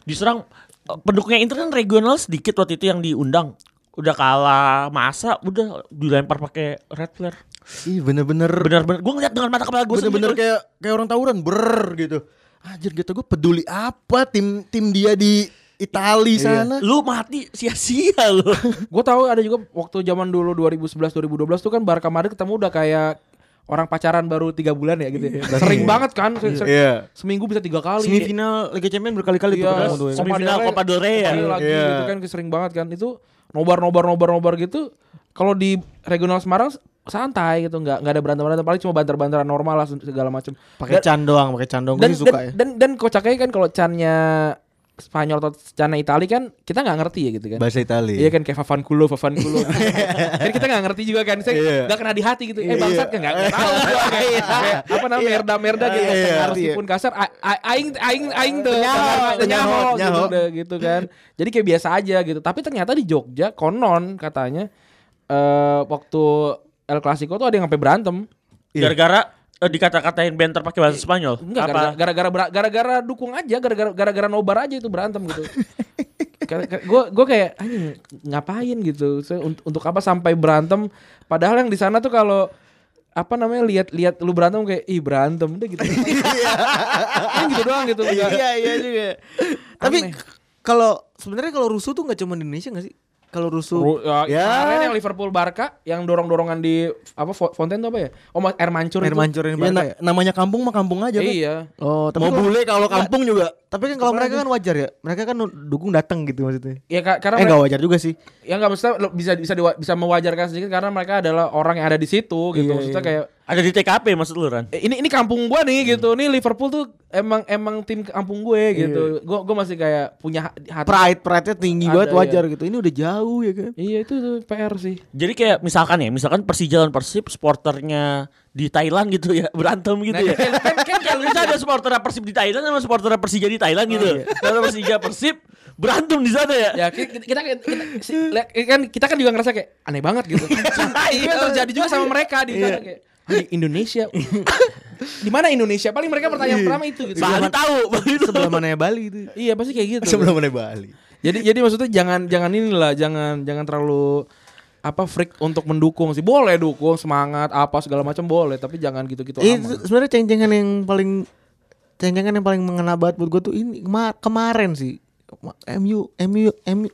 diserang eh, pendukungnya Inter kan regional sedikit waktu itu yang diundang udah kalah masa udah dilempar pakai red flare.
Ih bener-bener
Benar-benar gue ngeliat dengan mata kepala gue
bener-bener kayak kayak orang tawuran ber gitu. Anjir gitu gue peduli apa tim tim dia di Itali sana.
lu mati sia-sia lu.
Gue tahu ada juga waktu zaman dulu 2011 2012 tuh kan Barca Madrid ketemu udah kayak orang pacaran baru tiga bulan ya gitu. ya. Sering banget kan. se- se-
Iya.
Seminggu bisa tiga kali.
Semifinal Liga Champions berkali-kali tuh
Iya,
ketemu tuh ya.
Copa gitu kan. Semifinal Copa del Rey ya?
lagi
Iya.
gitu kan sering banget kan itu nobar nobar nobar nobar gitu. Kalau di regional Semarang santai gitu nggak nggak ada berantem berantem paling cuma banter banteran normal lah segala macam.
Pakai
Dan-
can doang, pakai can doang. Gue
dan,
sih suka
dan,
ya.
dan dan kocaknya kan kalau cannya Spanyol atau cannya Itali kan kita nggak ngerti ya gitu kan.
Bahasa Itali.
Iya kan kayak Favan Kulo, Favan Kulo. kan kita nggak ngerti juga kan, saya
Iya.
nggak kena di hati gitu. Eh bangsat kan nggak nggak tahu gua kayak, kayak apa namanya merda merda gitu.
Iya, iya.
Meskipun kasar, a- a- aing aing aing tuh
Nyaho,
nyaho gitu
nyaho.
deh, gitu kan. Jadi kayak biasa aja gitu. Tapi ternyata di Jogja konon katanya eh waktu El Clasico tuh ada yang sampai berantem.
Gara-gara eh, dikata-katain banter pakai bahasa Spanyol.
Iya. Enggak
Apa?
gara-gara gara-gara bera- gara-gara dukung aja, gara-gara gara-gara nobar aja itu berantem gitu. Gue gue kayak anjing ngapain gitu. Saya un- untuk apa sampai berantem padahal yang di sana tuh kalau apa namanya lihat-lihat lu berantem kayak ih berantem udah gitu. Kan gitu doang gitu. Enggak.
Iya, iya juga. Tapi kalau sebenarnya kalau rusuh tuh nggak cuma di Indonesia nggak sih? Kalau rusuh
Ru- ya,
Ya.
Kemarin yang Liverpool Barca yang dorong-dorongan di apa fo- fonten tuh apa ya? Oh ma- air mancur
air
itu.
mancur ini
Ya, na-
Barca ya?
namanya kampung mah kampung aja kan.
Iya.
Oh, tapi
Mau
kalau-
bule kalau kampung juga.
tapi kan kalau mereka kan wajar ya. Mereka kan dukung datang gitu maksudnya.
Ya ka- karena
Eh
mereka-
nggak wajar juga sih.
ya nggak maksudnya lo bisa bisa diwa- bisa mewajarkan sedikit karena mereka adalah orang yang ada di situ gitu. maksudnya kayak
Ada di TKP maksud lu Ran?
Eh, ini ini kampung gua nih gitu. Nih Liverpool tuh emang emang tim kampung gue gitu. Gua gua masih kayak punya ha- hati.
Pride, pride-nya tinggi
Ada,
banget
iya.
wajar gitu. Ini udah jauh ya kan.
Iya itu tuh PR sih.
Jadi kayak misalkan ya, misalkan Persija lawan Persib, sporternya di Thailand gitu ya, berantem gitu
Nah,
ya.
kan- kan- kan
Kan bisa ada supporter Persib di Thailand sama supporter Persija di Thailand gitu. Kalau Persija Persib berantem di sana ya.
Ya ki- kita kita, kita- si- lihat- kan kita kan juga ngerasa kayak aneh banget gitu. Itu yang terjadi juga sama mereka di sana kayak "Anjing, Indonesia. di mana Indonesia? Paling mereka pertanyaan pertama itu gitu.
Bali tahu begitu.
Sebelah mana ya Bali itu.
Iya pasti kayak gitu.
Sebelum mulai Bali.
Jadi jadi maksudnya jangan jangan inilah jangan jangan terlalu apa freak untuk mendukung sih. Boleh dukung semangat apa segala macam boleh, tapi jangan gitu-gitu
Eh,
amat.
se- sebenarnya ceng-cengan yang paling ceng-cengan yang paling mengena banget buat gue tuh ini kema- kemarin sih. Ma- MU, MU, MU,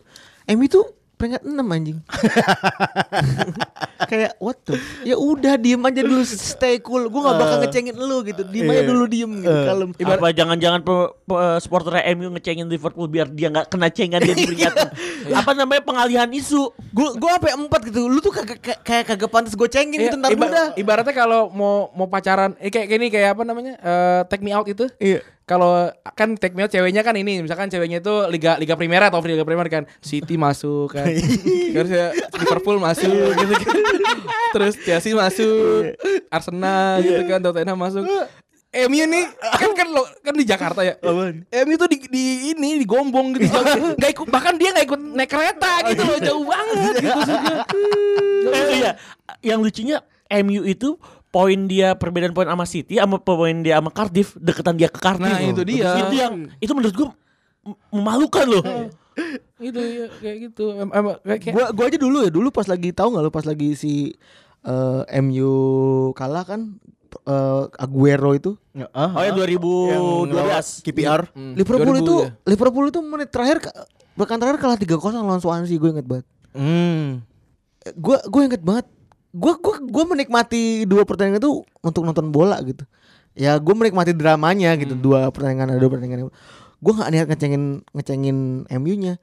MU tuh peringkat 6 anjing. Kayak what the Ya udah diem aja dulu stay cool. Gue gak
Eh.
bakal ngecengin lu gitu. Diem
Iya.
aja dulu diem gitu kalem.
Apa jangan-jangan pe- pe- supporter MU ngecengin Liverpool biar dia nggak kena cengan dia di peringatan. Apa namanya pengalihan isu?
Gue gue sampai empat gitu. Lu tuh kagak kayak- kayak kagak pantas gue cengin
Iya,
gitu ntar
iba-
udah.
Ibaratnya kalau mau mau pacaran, eh, kayak gini kayak apa namanya? eh take me out itu.
Iya.
Kalau kan take me out ceweknya kan ini, misalkan ceweknya itu liga liga Primera atau liga Primera kan, City masuk kan, terus ya, Liverpool masuk gitu kan, terus Chelsea masuk, Arsenal gitu kan, Tottenham masuk. MU nih kan kan lo kan di Jakarta ya. MU tuh di, di ini digombong gitu jauh. Nggak ikut bahkan dia nggak ikut naik kereta gitu loh jauh banget gitu.
Eh, iya. Yang lucunya MU itu poin dia perbedaan poin sama City sama poin dia sama Cardiff deketan dia ke Cardiff.
Nah, itu dia.
Itu yang itu menurut gua m- memalukan loh.
Gitu ya kayak gitu. Em- em- kayak- kayak-
Gua gua aja dulu ya dulu pas lagi tahu nggak lu pas lagi si eh, MU kalah kan eh, Aguero itu Iya.
Oh ya 2012.
KPR.
Liverpool
2000
itu
ya.
Liverpool itu menit terakhir ka- bahkan terakhir kalah 3-0 lawan Swansea gue inget banget.
Hmm.
Eh, Gua gua inget banget. Gua gua gua menikmati dua pertandingan itu untuk nonton bola gitu. Ya gue menikmati dramanya gitu dua pertandingan ada dua pertandingan. Gue nggak niat ngecengin ngecengin MU-nya.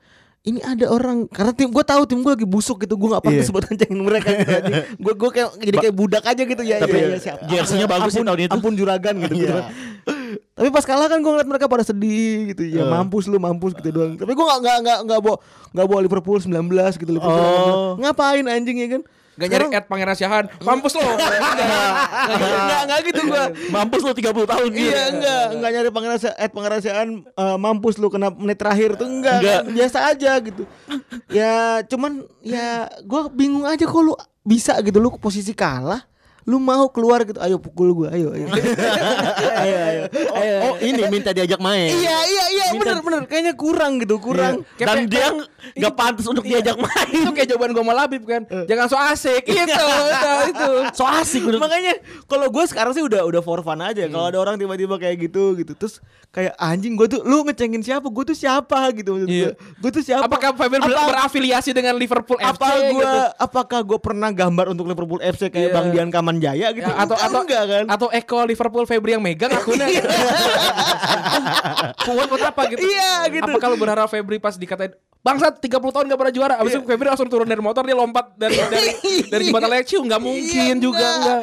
Ini ada orang karena tim gue tahu tim gue lagi busuk gitu gue nggak pantas buat ngecengin mereka. gitu, Gue gue kayak jadi kayak budak aja gitu ya.
Tapi
ya, ya, siap.
jersey-nya bagus sih
Ampun-
tahun itu. Iya.
Ampun juragan gitu. gitu. Tapi pas kalah kan gue ngeliat mereka pada sedih gitu
Eh.
ya mampus lu mampus gitu doang. Tapi gue nggak nggak nggak nggak bawa nggak bawa Liverpool 19 gitu
Oh.
Liverpool. 19. Ngapain anjing ya kan?
Gak nyari
Sekarang-
at Pangeran Syahan Mampus lo
nggak nggak gitu gue.
Mampus lo 30 tahun gitu.
Iya enggak enggak nyari pangeran at pengerasiaan eh, mampus lu kena menit terakhir tuh enggak,
Enggak.
kan? biasa aja gitu. ya cuman ya gua bingung aja kok lu bisa gitu lu posisi kalah lu mau keluar gitu ayo pukul gua ayo ayo ayo, ayo. ayo.
Oh, ini minta diajak main.
iya iya iya bener bener kayaknya kurang gitu kurang
Dan dia nggak pantas untuk
Iya.
diajak main.
itu kayak jawaban gue sama Labib kan
Eh.
jangan so asik Gitu, itu itu, itu.
So asik udah.
Makanya kalau gue sekarang sih udah udah for fun aja.
Hmm.
Kalau ada orang tiba-tiba kayak gitu gitu, terus kayak anjing gue tuh lu ngecengin siapa? Gue tuh siapa gitu maksud
Iya.
gue. Gue tuh siapa?
apakah Fabian ber-
Apa-
berafiliasi dengan Liverpool FC
apa gua
gitu?
apakah gue pernah gambar untuk Liverpool FC kayak
Iya.
Bang Dian Kamanjaya gitu?
Ya, atau
Kan
atau
enggak kan?
atau Eko Liverpool Febri yang megang akunnya gitu. kuat buat apa gitu
Iya, gitu.
apa kalau berharap Febri pas dikatain Bangsat 30 tahun gak pernah juara Abis
Iya.
itu Febri langsung turun dari motor Dia lompat dari dari, dari jembatan Lecciu Gak mungkin
Iya,
juga enggak.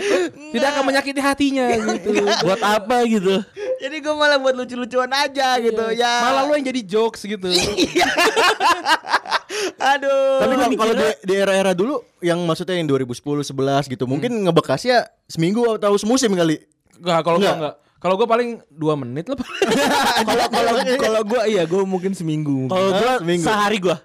Tidak akan menyakiti hatinya gitu
Buat apa gitu?
Jadi gue malah buat lucu-lucuan aja gitu ya.
Iya. Malah lu yang jadi jokes gitu
aduh.
Tapi kalau- kalau di, di era-era dulu yang maksudnya yang 2010, 11 gitu, mungkin ngebekasnya seminggu atau semusim kali.
Enggak kalau gue
Nggak.
enggak Kalau gue paling 2 menit lah
kalau kalau kalau gue iya gue mungkin seminggu.
Kalau gua
Hah? Seminggu.
sehari gua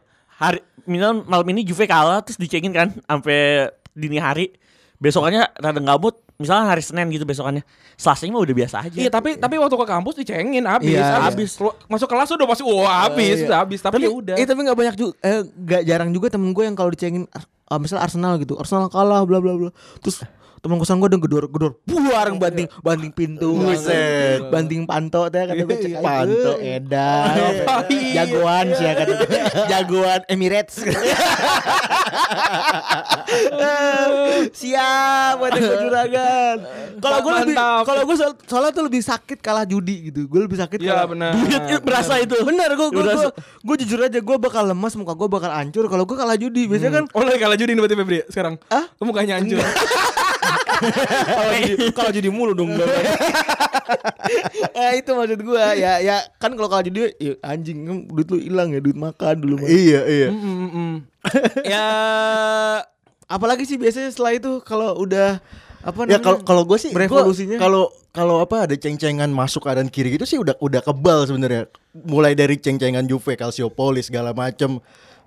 hari minimal malam ini Juve kalah terus dicengin kan sampai dini hari. Besokannya rada gabut, misalnya hari Senin gitu besokannya. Selasanya mah udah biasa aja.
Iya tapi tapi waktu ke kampus dicengin Abis
Iya,
Abis Kelu- Masuk kelas udah pasti Wah abis udah abis Tapi, ya udah
Eh tapi nggak banyak juga, eh, nggak jarang juga temen gue yang kalau dicengin, ah, ah, misalnya Arsenal gitu, Arsenal kalah, bla bla bla. Terus temen kosan gue udah gedor gedor, buar banting banting pintu,
Buset.
banting panto, teh kata gue cek
Panto
"Aduh,
Edan,
jagoan sih ya kata gue. jagoan Emirates. Siap buat gue juragan. Kalau gue lebih,
Mantap.
kalau gue soal- soalnya tuh lebih sakit kalah judi gitu, gue lebih sakit.
Iya
kalah-
benar
Duit itu berasa itu.
Bener gue gue
Udah
gue jujur aja gue bakal lemas muka gue bakal hancur kalau gue kalah judi biasanya kan
Oh lagi kalah judi nih berarti Febri sekarang
Hah?
Lu mukanya hancur
kalau judi kalau judi mulu dong gue. Eh, itu maksud gue ya ya kan kalau kalah judi ya, anjing kan duit lu hilang ya duit makan dulu. mah.
Iya, iya.
Ya
Apalagi sih biasanya setelah itu kalau udah apa
Ya kalau kalau gue sih gua-
Berevolusinya.
kalau kalau apa ada ceng-cengan masuk kanan kiri gitu sih udah udah kebal sebenarnya. Mulai dari ceng-cengan Juve, Calciopoli segala macem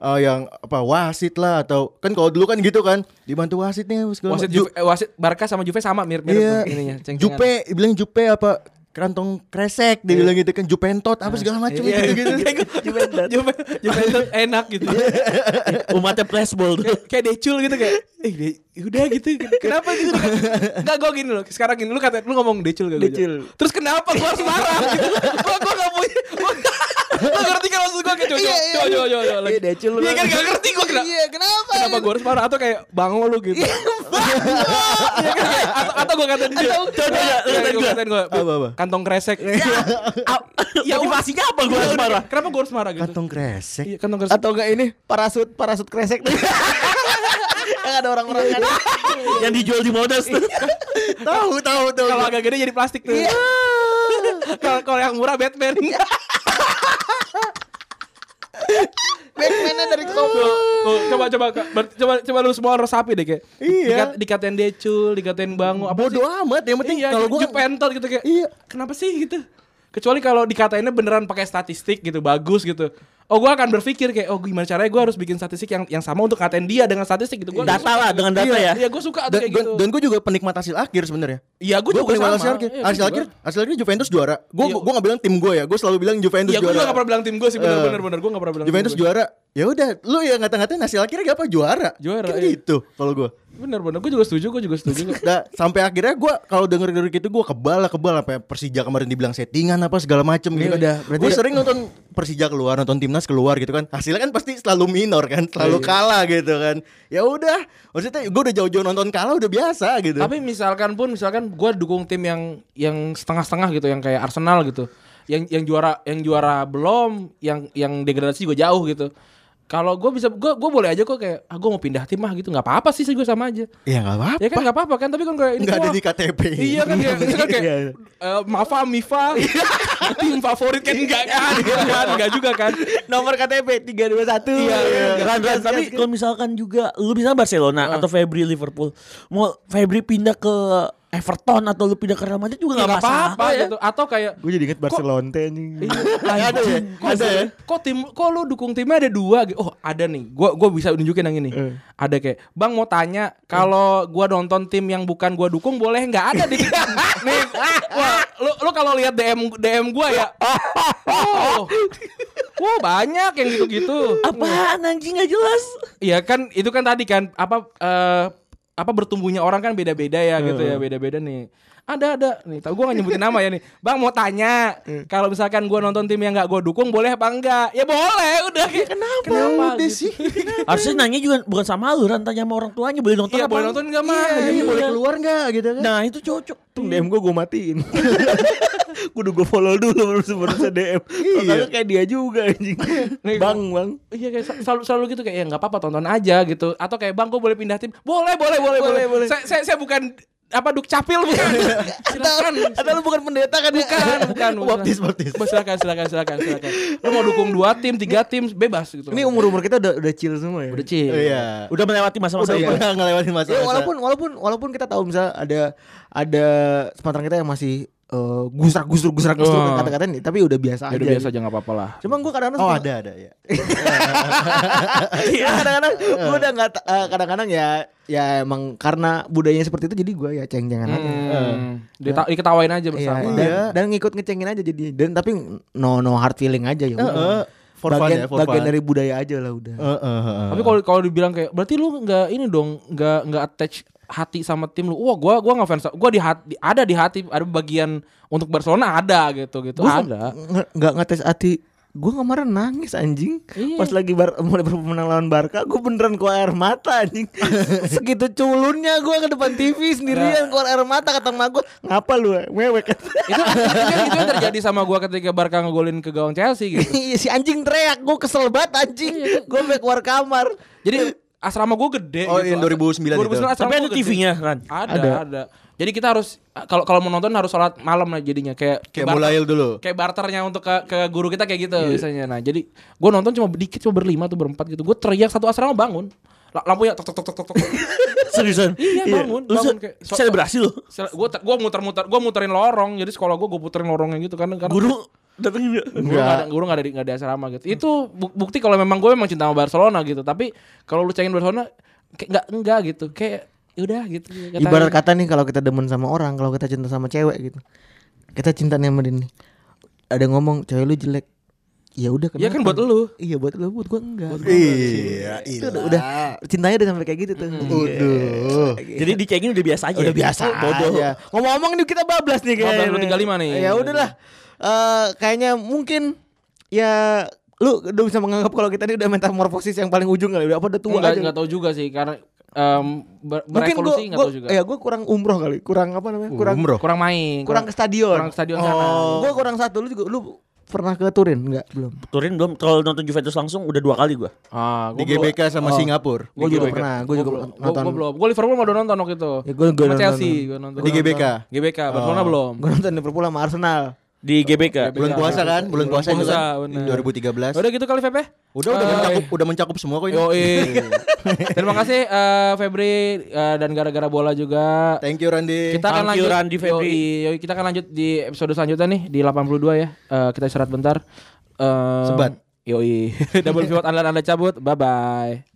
Eh, yang apa wasit lah atau kan kalau dulu kan gitu kan dibantu wasit nih segala
Wasit
ma-
Juve, eh, wasit Barca sama Juve sama mirip mirip
Iya.
ininya cengcengan.
Jupe, bilang Jupe apa kantong kresek dia bilang gitu kan Jupentot apa segala macam
Iya
gitu,
gitu Juve Juve Juve itu enak gitu.
Iya.
Umatnya flashball tuh.
kayak decul gitu kayak eh de, udah gitu kenapa gitu enggak gue gini loh sekarang gini lu kata lu ngomong decul gak decul terus kenapa gue harus marah gitu gue gue gak punya gua- lu ngerti kan maksud gue kayak cojo
Iya, iya.
cojo cojo cojo lagi
Iya, decul lu.
iya kan gak ngerti gue kenapa
Iya kenapa?
kenapa gue harus marah atau kayak bango lu gitu Iya kan, kayak- atau atau gue kata dia cojo ya
lu katain
gue
gua.
katain gue
Apa, apa?
kantong kresek
Ya motivasinya apa gua harus marah?
kenapa gue harus marah gitu
kantong kresek
Iya, kantong kresek
Atau enggak ini parasut parasut kresek. Yang ada orang-orang kan.
Yang dijual di Modas tuh.
tahu tahu tahu
kalau agak gede jadi plastik tuh
Iya.
kalau kalau yang murah Batman
Batman-nya dari
Tuh,
komik.
tuh, Oh, coba coba Kak. Ber- coba coba lu semua resapi deh kayak.
Iya.
Dikat- dikatain decul, dikatain bango, apa
bodoh amat yang penting
Iya,
kalau gua
pentot gitu kayak.
Iya.
Kenapa sih gitu? Kecuali kalau dikatainnya beneran pakai statistik gitu, bagus gitu. Oh, gua akan berpikir kayak, oh gimana caranya gua harus bikin statistik yang yang sama untuk ngatain dia dengan statistik gitu. Gua
Data lah dengan data
Iya,
ya.
Iya, gua suka tuh
dan,
kayak
dan,
gitu.
dan gue juga penikmat hasil akhir sebenarnya
Iya, gua
Gue
juga
penikmat
sama.
hasil akhir
Iya, gua
hasil
juga.
akhir hasil akhir Juventus juara gue
Iya.
gue nggak bilang tim gue ya gue selalu bilang Juventus
Iya, gua juga
juara
gak pernah bilang tim gua sih bener-bener
Eh.
bener. Gua gak pernah bilang. tim
Juventus
gua.
juara ya udah lu ya ngata-ngatain hasil akhirnya gak apa juara
Juara,
kan
iya.
gitu kalau gue
Bener-bener gua juga setuju, gua juga setuju.
Nah, sampai akhirnya gue kalau denger denger gitu gue kebal lah kebal apa Persija kemarin dibilang settingan apa segala macem
Iya,
gitu.
udah, berarti-
gue sering nonton Persija keluar nonton timnas keluar gitu kan hasilnya kan pasti selalu minor kan
Iya.
selalu kalah gitu kan ya udah maksudnya gue udah jauh-jauh nonton kalah udah biasa gitu
Tapi misalkan pun misalkan gua dukung tim yang yang setengah-setengah gitu yang kayak Arsenal gitu. Yang yang juara yang juara belum, yang yang degradasi juga jauh gitu. Kalau gue bisa gue gue boleh aja kok kayak ah gue mau pindah tim mah gitu nggak apa-apa sih sih gue sama aja.
ya nggak apa-apa
Ya kan nggak apa-apa kan tapi kan kayak ini
nggak ada
wah,
di KTP
Iya kan kayak misalkan kayak
iya.
eh, Mafa Mifa tim favorit kan enggak kan
Iya.
enggak enggak juga kan.
Nomor KTP 321.
Iya, iya.
Ran, Ran, tapi kalau misalkan juga lu misalnya Barcelona atau Febri Liverpool mau Febri pindah ke Everton atau lu pindah ke Real Madrid juga nggak masalah.
Iya,
Iya.
apa-apa gitu. Atau kayak
Gue jadi inget Barcelona anjing.
Iya,
ada ya?
Kok,
Ada ya?
kok tim kok lu dukung timnya ada dua gitu. Oh, ada nih. Gua gua bisa nunjukin yang ini.
Eh.
Ada kayak, "Bang mau tanya, kalau gua nonton tim yang bukan gua dukung boleh nggak ada di Nih. Wah, lu lu kalau lihat DM DM gua ya. Oh. Wah, banyak yang gitu-gitu.
Apaan anjing nggak jelas.
Iya kan itu kan tadi kan apa eh, apa bertumbuhnya orang kan beda-beda ya gitu ya beda-beda nih. Ada ada nih tahu gua gak nyebutin nama ya nih. Bang mau tanya kalau misalkan gua nonton tim yang gak gua dukung boleh apa enggak? Ya boleh udah. Kenapa? Kenapa udah sih?
Harusnya nanya juga bukan sama lu, Ran, tanya sama orang tuanya boleh nonton
Iya
apa
boleh
enggak?
nonton enggak mah?
Ini boleh keluar nggak gitu kan?
Nah, itu cocok.
Untung DM gue gue matiin. Kudu gue follow dulu baru sebelum
Iya.
DM. Kalau kagak kayak dia juga anjing.
Nih,
bang, bang.
Iya kayak sel- selalu selalu gitu kayak ya nggak apa-apa tonton aja gitu atau kayak bang gua boleh pindah tim boleh boleh boleh boleh, Saya, saya saya bukan apa duk capil bukan silakan
Atau Nah, kan, lu bukan pendeta kan?
bukan bukan
Baptis, baptis.
Mas, silakan silakan silakan silakan. Lu mau dukung dua tim, tiga tim bebas gitu.
Ini umur-umur kita udah udah chill semua ya.
udah Iya, chill.
Iya.
Udah melewati masa-masa itu.
Udah ngelewatin masa
Ya, walaupun walaupun walaupun kita tahu misalnya ada ada Sumatera kita yang masih eh, gusrak gusruk gusrak gusruk
Oh.
kata-kata nih, tapi udah biasa aja.
Ya udah biasa aja nggak apa-apa lah.
Cuma gue kadang-kadang
Oh
suka-
ada ada ya.
Iya, kadang-kadang gue udah nggak ta- eh, kadang-kadang ya ya emang karena budayanya seperti itu jadi gue ya ceng-cengan aja.
Hmm. Dita- diketawain aja
Ya. Iya,
bersama.
dan, dan ngikut ngecengin aja jadi dan tapi no no hard feeling aja ya. udah.
Heeh. For fun
bagian,
ya, for
bagian
fun.
dari budaya aja lah udah.
Heeh, heeh.
Tapi kalau kalau dibilang kayak berarti lu nggak ini dong, nggak nggak attach hati sama tim lu. Wah, gua gua nggak fans. Gua di hati ada di hati ada bagian untuk Barcelona ada gitu gitu.
Gua
ada.
nge- nggak ngetes hati gue kemarin nangis anjing
Iya.
pas lagi bar, mulai berpemenang lawan Barca gue beneran keluar air mata anjing segitu culunnya gue ke depan TV
Nah.
sendirian keluar air mata kata emak gue ngapa lu eh? mewek
itu, itu, Kan itu yang terjadi sama gua ketika Barca ngegolin ke gawang Chelsea gitu.
Iya, si anjing teriak gue kesel banget anjing gue sampai keluar kamar
Jadi asrama gua gede
Oh,
gitu.
yang 2009 itu.
2009 asrama
Tapi ada
gua gede.
TV-nya, Ran.
Ada, ada. Jadi kita harus kalau kalau mau nonton harus sholat malam lah jadinya kayak barter-
Kayak mulail dulu.
Kayak barternya untuk ke, ke guru kita kayak gitu biasanya. Nah, jadi gue nonton cuma dikit cuma berlima tuh berempat gitu. Gue teriak satu asrama bangun. La- Lampunya tok tok tok tok tok. tok.
Seriusan.
iya, bangun,
Lu
bangun
se-
kayak- so-
selebrasi lu.
gue gue muter-muter gue muterin lorong jadi sekolah gue gue puterin lorongnya gitu karena karena
Guru datengin dia.
guru nggak ada guru nggak ada di nggak ada asrama gitu itu bu- bukti kalau memang gue memang cinta sama Barcelona gitu tapi kalau lu cengin Barcelona kayak nggak enggak gitu kayak udah gitu Kata-
ibarat kata nih kalau kita demen sama orang kalau kita cinta sama cewek gitu kita cinta nih sama dia nih ada yang ngomong cewek lu jelek ya udah
ya kan buat lu
iya buat lu buat gue enggak
Iya,
itu udah, udah cintanya udah sampai kayak gitu tuh
Udah.
Jadi dicengin udah biasa aja.
udah biasa
Bodoh.
aja. Iya. Ngomong-ngomong nih kita bablas nih kayaknya.
12.35 nih.
Ya udahlah. Eh, kayaknya mungkin ya lu udah bisa menganggap kalau kita ini udah metamorfosis yang paling ujung kali udah apa udah tua
nggak
aja.
nggak tahu juga sih karena em, ber-
mungkin gua,
berevolusi nggak
gua
tahu juga
ya gua kurang umroh kali, kurang apa namanya? Kurang
Umroh.
kurang main
kurang ke stadion. Oh.
kurang ke stadion sana
Gua kurang satu lu juga lu pernah ke Turin enggak? Belum.
Turin belum kalau nonton Juventus langsung udah dua kali gua.
ah
Di GBK sama Singapura.
Gua juga pernah, gua juga nonton.
gue belum gue Liverpool mau nonton waktu itu
Ya, gua- gua
sama
nonton.
Chelsea gua nonton
Di GBK.
GBK Barcelona belum
Oh. Gua nonton Liverpool sama Arsenal.
Di GBK.
Bulan puasa kan? Bulan puasa itu
puasa,
kan?
bener.
2013.
udah gitu kali Pepe
Udah udah
Eh,
mencakup udah mencakup semua kok ini.
Yoi. Terima kasih eh, Febri eh, dan gara-gara bola juga.
Thank you Randy.
Kita akan
Thank you,
lanjut
Randy Febri.
Yoi, yoi, kita akan lanjut di episode selanjutnya nih di 82 ya. Eh, kita istirahat bentar. Em,
Sebat.
Yoi. Double pivot andalan Anda cabut. Bye bye.